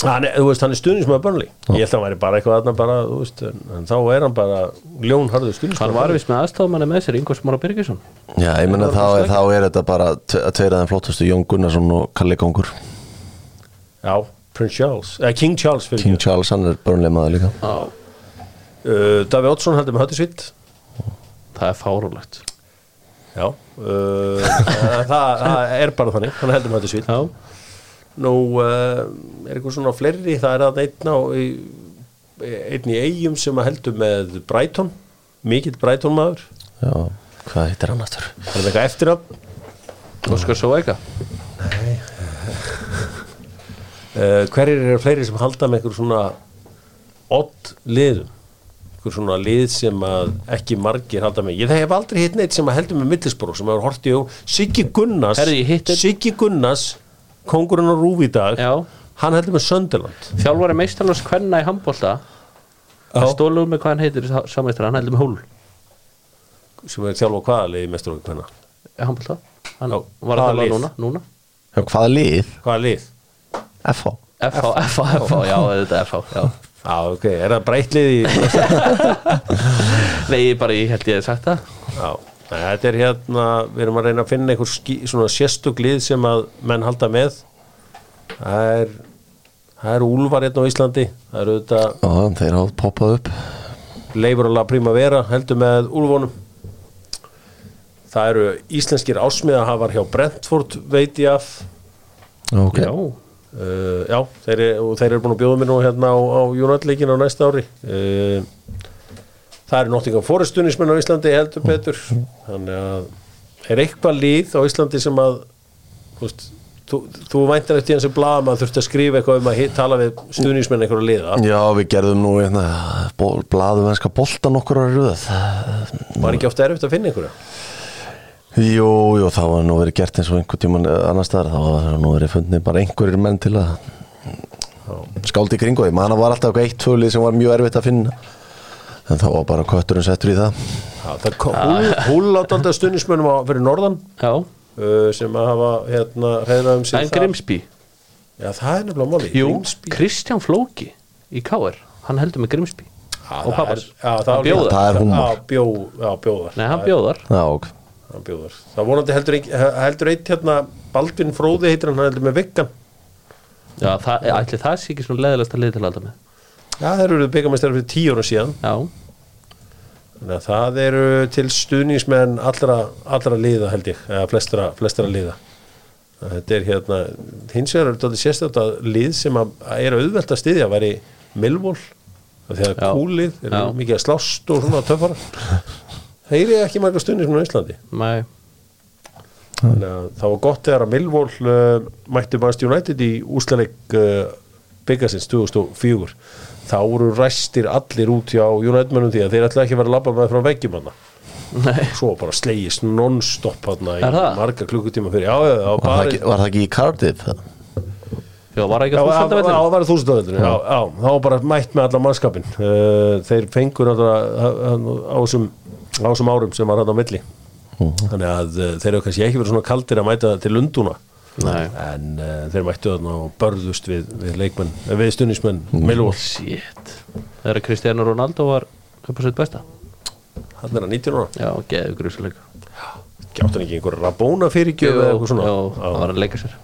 [SPEAKER 1] hann er, þú veist, hann er stuðnismæður Burnley ég held að hann væri bara eitthvað aðna bara, þú veist en, en þá er hann bara ljónharður
[SPEAKER 2] Hann
[SPEAKER 1] stuðnismæður
[SPEAKER 2] var vist með aðstofmanni með sér Ingvar Smára Birgisson
[SPEAKER 3] Já, ég menna þá, er- þá er þetta bara tve- tveir af þeim flottustu Jón Gunnarsson og Kalli Kongur
[SPEAKER 1] já, Prince Charles, eða King Charles fyrir
[SPEAKER 3] King Charles, hann er börnlega maður líka
[SPEAKER 2] Já
[SPEAKER 1] uh, Davi Oddsson heldur með Höttisvitt
[SPEAKER 2] Það er fárúlegt
[SPEAKER 1] já uh, það, það, það er bara þannig hann heldur með Höttisvitt
[SPEAKER 2] Já
[SPEAKER 1] nú uh, er eitthvað svona fleiri það er að einn á í, einn í eigum sem heldur með Brighton, mikill Brighton maður
[SPEAKER 3] Já, hvað heitir hann aftur?
[SPEAKER 1] hann er með eitthvað eftirnafn
[SPEAKER 2] Óskar Sóæka
[SPEAKER 1] uh, hverjir eru fleiri sem halda með einhver svona odd liðum einhver svona lið sem að ekki margir halda með, ég hef aldrei hitt neitt sem að heldur með millisbró sem hefur hortið á Siggi Gunnars
[SPEAKER 2] Herri, ég hitt einn-
[SPEAKER 1] Siggi Gunnars, kongurinn á Rúf í dag
[SPEAKER 2] Já.
[SPEAKER 1] hann heldur með Sönderland
[SPEAKER 2] Þjálfari meistarlans kvenna í handbólta Stólum með hvað hann heitir samveistra Hann heldur með hól
[SPEAKER 1] sem er þjálfa hvaða liði mestur okkur hvenna
[SPEAKER 2] Handbólta Hann
[SPEAKER 1] Já,
[SPEAKER 2] var
[SPEAKER 1] hvaða
[SPEAKER 2] að þjálfa
[SPEAKER 1] lið?
[SPEAKER 2] núna, núna
[SPEAKER 3] Já, hvaða lið?
[SPEAKER 1] hvaða lið?
[SPEAKER 3] FH
[SPEAKER 2] FH, FH, FH, já, þetta er FH já.
[SPEAKER 1] Já, ok, er það breytlið í
[SPEAKER 2] Nei, ég bara, ég held ég hef sagt það
[SPEAKER 1] Já, en þetta er hérna við erum að reyna að finna einhver skí, svona séstuglið sem að menn halda með það er það eru úlfar hérna á Íslandi það eru þetta
[SPEAKER 3] Já, þeir hafa poppað upp
[SPEAKER 1] leifur alveg að príma vera heldur með úlfónum það eru íslenskir ásmiðahafar hjá Brentford veit ég af
[SPEAKER 3] Ok,
[SPEAKER 2] Já,
[SPEAKER 1] uh, já, þeir, eru- og þeir eru búin að bjóða mér nú hérna á, á United-leikin á næsta ári uh, það eru Nottingham Forest stunismenn á Íslandi heldur betur þannig að er eitthvað líð á Íslandi sem að þú veist, þú, þú væntar eftir hans að blaða maður þurfti að skrifa eitthvað um að hit, tala við stunismenn einhverja liða,
[SPEAKER 3] Já, við gerðum nú hérna, bó- blaðum ennska boltan okkur að röð
[SPEAKER 1] var ekki ofta erfitt að finna einhverja
[SPEAKER 3] Jú, jú, það var nú verið gert eins og einhver tíman annar staðar, það var nú verið fundið bara einhverjir menn til að skáldi í kringu því, manna var alltaf eitthvað eitt tölið sem var mjög erfitt að finna en þá var bara kötturinn settur í það
[SPEAKER 1] Já, það kom- Ah. húl, húl átaldið stunismennum á, fyrir norðan
[SPEAKER 2] já,
[SPEAKER 1] uh, sem að hafa hérna reyðrað um sig
[SPEAKER 2] en Grimsby
[SPEAKER 1] Já, það er nefnilega máli
[SPEAKER 2] Jú,
[SPEAKER 1] Grimsby.
[SPEAKER 2] Kristján Flóki í KR Hann heldur með Grimsby
[SPEAKER 1] Já,
[SPEAKER 2] og
[SPEAKER 1] það
[SPEAKER 2] pappar
[SPEAKER 1] er- Já, það
[SPEAKER 2] Hann
[SPEAKER 1] var líka-
[SPEAKER 2] bjóðar.
[SPEAKER 3] Það er húmor.
[SPEAKER 1] Já, bjó, já, bjóðar
[SPEAKER 2] Nei, hann bjóðar
[SPEAKER 3] Já, ok
[SPEAKER 1] Hann bjóðar Það vonandi heldur, ein- heldur eitt hérna Baldvin Fróði heitir hann, hann heldur með Viggan
[SPEAKER 2] Já, það, ætli það sé ekki svona leðilegast að liða til að halda með
[SPEAKER 1] Já, þeir eru byggamestari fyrir tíu ára síðan
[SPEAKER 2] Já,
[SPEAKER 1] Þannig að það eru til stuðningsmenn allra, allra liða held ég eða flestra, flestra liða Þetta er hérna, hins vegar er þetta sérstætt að lið sem að að er auðvelt að styðja væri Milvól þegar
[SPEAKER 2] Já.
[SPEAKER 1] kúlið, er
[SPEAKER 2] Já.
[SPEAKER 1] mikið að slást og svona töffara Heyri ekki marga stuðningsmenn á Íslandi
[SPEAKER 2] mæ,
[SPEAKER 1] Þannig að það var gott þegar að Millwall uh, mættu Manst United í úslaleg uh, byggasins 2004 þá voru ræstir allir út hjá United-mönnum því að þeir ætla ekki að vera að labba með frá veggjum hana
[SPEAKER 2] nei
[SPEAKER 1] svo var bara slegist non-stop hana í
[SPEAKER 2] Er það?
[SPEAKER 1] marga klukkutíma fyrir já, já, já,
[SPEAKER 3] Var það,
[SPEAKER 1] bara
[SPEAKER 3] ekki, var það ekki í Cardiff? það?
[SPEAKER 2] Já, var það ekki
[SPEAKER 1] Já,
[SPEAKER 2] að
[SPEAKER 1] já,
[SPEAKER 2] þúsanda
[SPEAKER 1] já,
[SPEAKER 2] veitur
[SPEAKER 1] það var þúsundavellinu Já, já, það var bara mætt með allan mannskapin uh, Þeir fengur náttúrulega uh, á þessum á þessum árum sem var hann á milli Þannig að uh, þeir eru kannski ekki verið svona kaldir að mæta til Lundúna
[SPEAKER 2] Nei.
[SPEAKER 1] En uh, þeir mættu þarna og börðust við, við leikmenn, eh, við stunismenn Millwall,
[SPEAKER 2] Shit Þegar Cristiano Ronaldo var upp á sitt besta
[SPEAKER 1] hann er að 19 ára
[SPEAKER 2] Já, geðu grusleika
[SPEAKER 1] Gjátt hann ekki einhver rabóna fyrirgjöf eða eitthvað svona
[SPEAKER 2] Já, það var að leika sér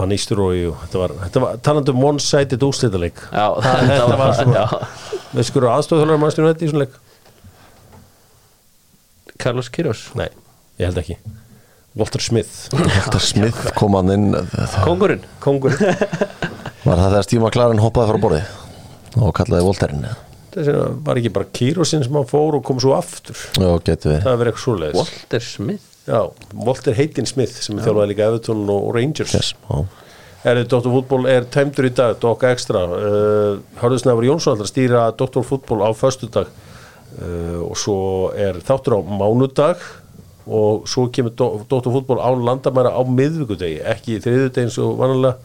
[SPEAKER 1] Fann Ísturói og þetta var, þetta var talandi um one-sided úslitaleik
[SPEAKER 2] Já,
[SPEAKER 1] þetta var svona
[SPEAKER 2] já.
[SPEAKER 1] Við skurðu aðstofþjóðlega mannstjónu þetta í svona leik
[SPEAKER 2] Carlos Kiros
[SPEAKER 1] Nei, ég held ekki Walter Smith
[SPEAKER 3] Walter Smith kom hann inn það-
[SPEAKER 2] Kongurinn
[SPEAKER 1] Kongur Þetta
[SPEAKER 3] Var það þegar Stíma Klaren hoppaði frá borði og kallaði Volterinn
[SPEAKER 1] sem var ekki bara Kýrosinn sem hann fór og kom svo aftur
[SPEAKER 3] Já, getur við
[SPEAKER 1] Það verið eitthvað svoleiðis
[SPEAKER 2] Walter Smith
[SPEAKER 1] Já, Walter Heitin Smith sem er þjálfaði líka Everton og Rangers
[SPEAKER 3] yes, já.
[SPEAKER 1] Erðu Dr. Fútból er tæmdur í dag Dokka Extra uh, Hörðusnafur Jónsson ætlar að stýra Dr. Fútból á föstudag uh, og svo er þáttur á mánudag og svo kemur Do- Dr. Fútból án landamæra á miðvikudegi ekki þriðudegi eins og vanalega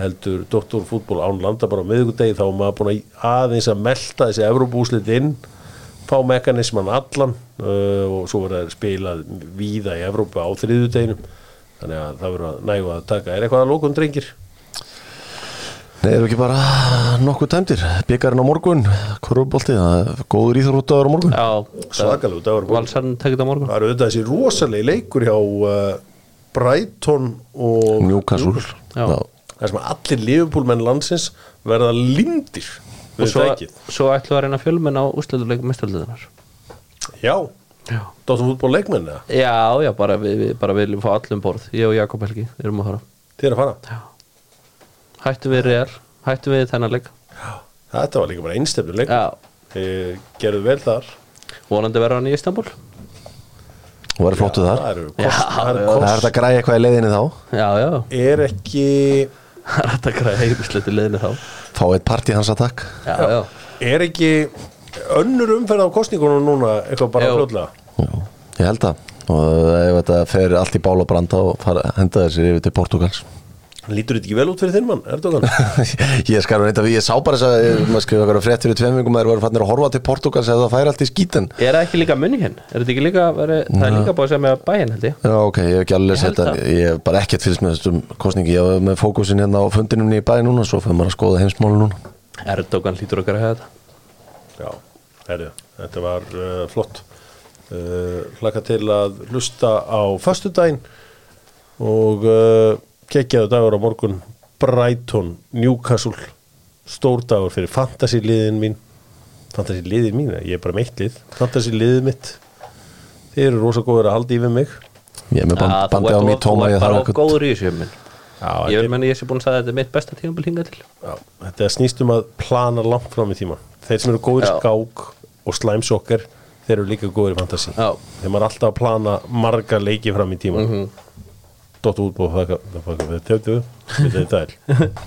[SPEAKER 1] heldur Dr. Fútból án landamæra á miðvikudegi þá er maður búin að aðeins að melta þessi Evrópúslit inn fá mekanisman allan uh, og svo verður það spilað víða í Evrópu á þriðudeginum þannig að það verður að nægu að taka er eitthvað að lókum drengir?
[SPEAKER 3] Nei, eru ekki bara nokkuð tæmdir Byggarinn á morgun, korfubolti það er góður íþróttaður á morgun
[SPEAKER 2] Já,
[SPEAKER 1] Svakalegur dagur.
[SPEAKER 2] Valsarn tekið á morgun
[SPEAKER 1] Það eru auðvitað þessi rosalegi leikur hjá uh, Brighton og
[SPEAKER 3] Newcastle
[SPEAKER 2] Já.
[SPEAKER 3] Já.
[SPEAKER 1] það sem allir liðupúlmenn landsins verða lindir
[SPEAKER 2] Og
[SPEAKER 1] við
[SPEAKER 2] svo,
[SPEAKER 1] tækið
[SPEAKER 2] svo ætlum við að reyna fjölmenn á úsleituleik mestarliðunar
[SPEAKER 1] Já,
[SPEAKER 2] Já
[SPEAKER 1] Dóttum fútból leikmenn eða?
[SPEAKER 2] Já, já, bara við, við bara viljum fá allum borð Ég og Jakob Helgi erum að fara
[SPEAKER 1] Þið er að fara
[SPEAKER 2] Hættum við real, hættum við þennan leik
[SPEAKER 1] Þetta var líka bara einstefnur leik
[SPEAKER 2] Já,
[SPEAKER 1] Þið gerðu vel þar
[SPEAKER 2] vonandi verður hann í Istanbul
[SPEAKER 3] og verður flottu þar
[SPEAKER 1] Það eru kost,
[SPEAKER 2] Já,
[SPEAKER 1] það eru
[SPEAKER 2] já.
[SPEAKER 3] Það er
[SPEAKER 1] kost.
[SPEAKER 3] þetta að græja eitthvað í leiðinni þá
[SPEAKER 2] Já, já,
[SPEAKER 1] er ekki
[SPEAKER 2] það er hægt að græða heimsleiti leiðinu þá
[SPEAKER 3] Fá eitt partí hans að takk
[SPEAKER 2] Já, já, já.
[SPEAKER 1] er ekki önnur umferð á kostningunum núna eitthvað bara
[SPEAKER 2] Jú.
[SPEAKER 1] fljóðlega
[SPEAKER 3] Ég held það og ef þetta fer allt í bál og branda og fara, henda þessir yfir til Portugals
[SPEAKER 1] Lítur þetta ekki vel út fyrir þinn mann, Erdogan?
[SPEAKER 3] ég skar reynda við, ég sá bara þess að ég- maður skrifa eitthvað frétt fyrir tveim vingum að þeir voru fannir að horfa til Portugals eða það færi allt í skítin
[SPEAKER 2] Er það ekki líka muningin? Er þetta ekki líka, veri, það er líka búið að segja með bæinn held ég
[SPEAKER 3] Já, ok, ég hef ekki alveg
[SPEAKER 2] Ég held
[SPEAKER 3] sett þetta
[SPEAKER 2] það.
[SPEAKER 3] Ég hef bara ekkert fylgst með þessum kostningi Ég hef með fókusin hérna á fundinum í bæði núna Svo fyrir maður að skoða heimsmáli núna
[SPEAKER 2] Erdogan hlýtur okkar að hafa þetta
[SPEAKER 1] Já, herri, þetta var uh, flott uh, Hlakka til að hlusta á föstudaginn og uh, kekkjaðu dagur á morgun Brighton, Newcastle stór dagur fyrir fantasiliðin mín fantasiliðin mín, ég er bara meitt lið fantasiliðið mitt þeir eru rosa góður að halda í við mig
[SPEAKER 3] Ég er með band,
[SPEAKER 2] Ja, þú
[SPEAKER 3] bandið á
[SPEAKER 2] ert
[SPEAKER 3] mig
[SPEAKER 2] of-
[SPEAKER 3] tóma
[SPEAKER 2] Þú
[SPEAKER 3] ég
[SPEAKER 2] ert bara
[SPEAKER 3] þarf
[SPEAKER 2] of
[SPEAKER 3] eitthvað
[SPEAKER 2] góður í þessu hjá mér.
[SPEAKER 1] Já,
[SPEAKER 2] Ég
[SPEAKER 1] þetta
[SPEAKER 2] vil
[SPEAKER 1] er-
[SPEAKER 2] menna ég sé búin að sagði að þetta er mitt besta tímabil hingað til
[SPEAKER 1] Já, þetta snýst um að plana langt fram í tíma þeir sem eru góðir
[SPEAKER 2] Já.
[SPEAKER 1] skák og slæmsokkar þeir eru líka góðir í fantasi
[SPEAKER 2] Já.
[SPEAKER 1] þeir maður er alltaf að plana marga leiki fram í tíma mm -hmm. dottu útbúð þetta er þetta er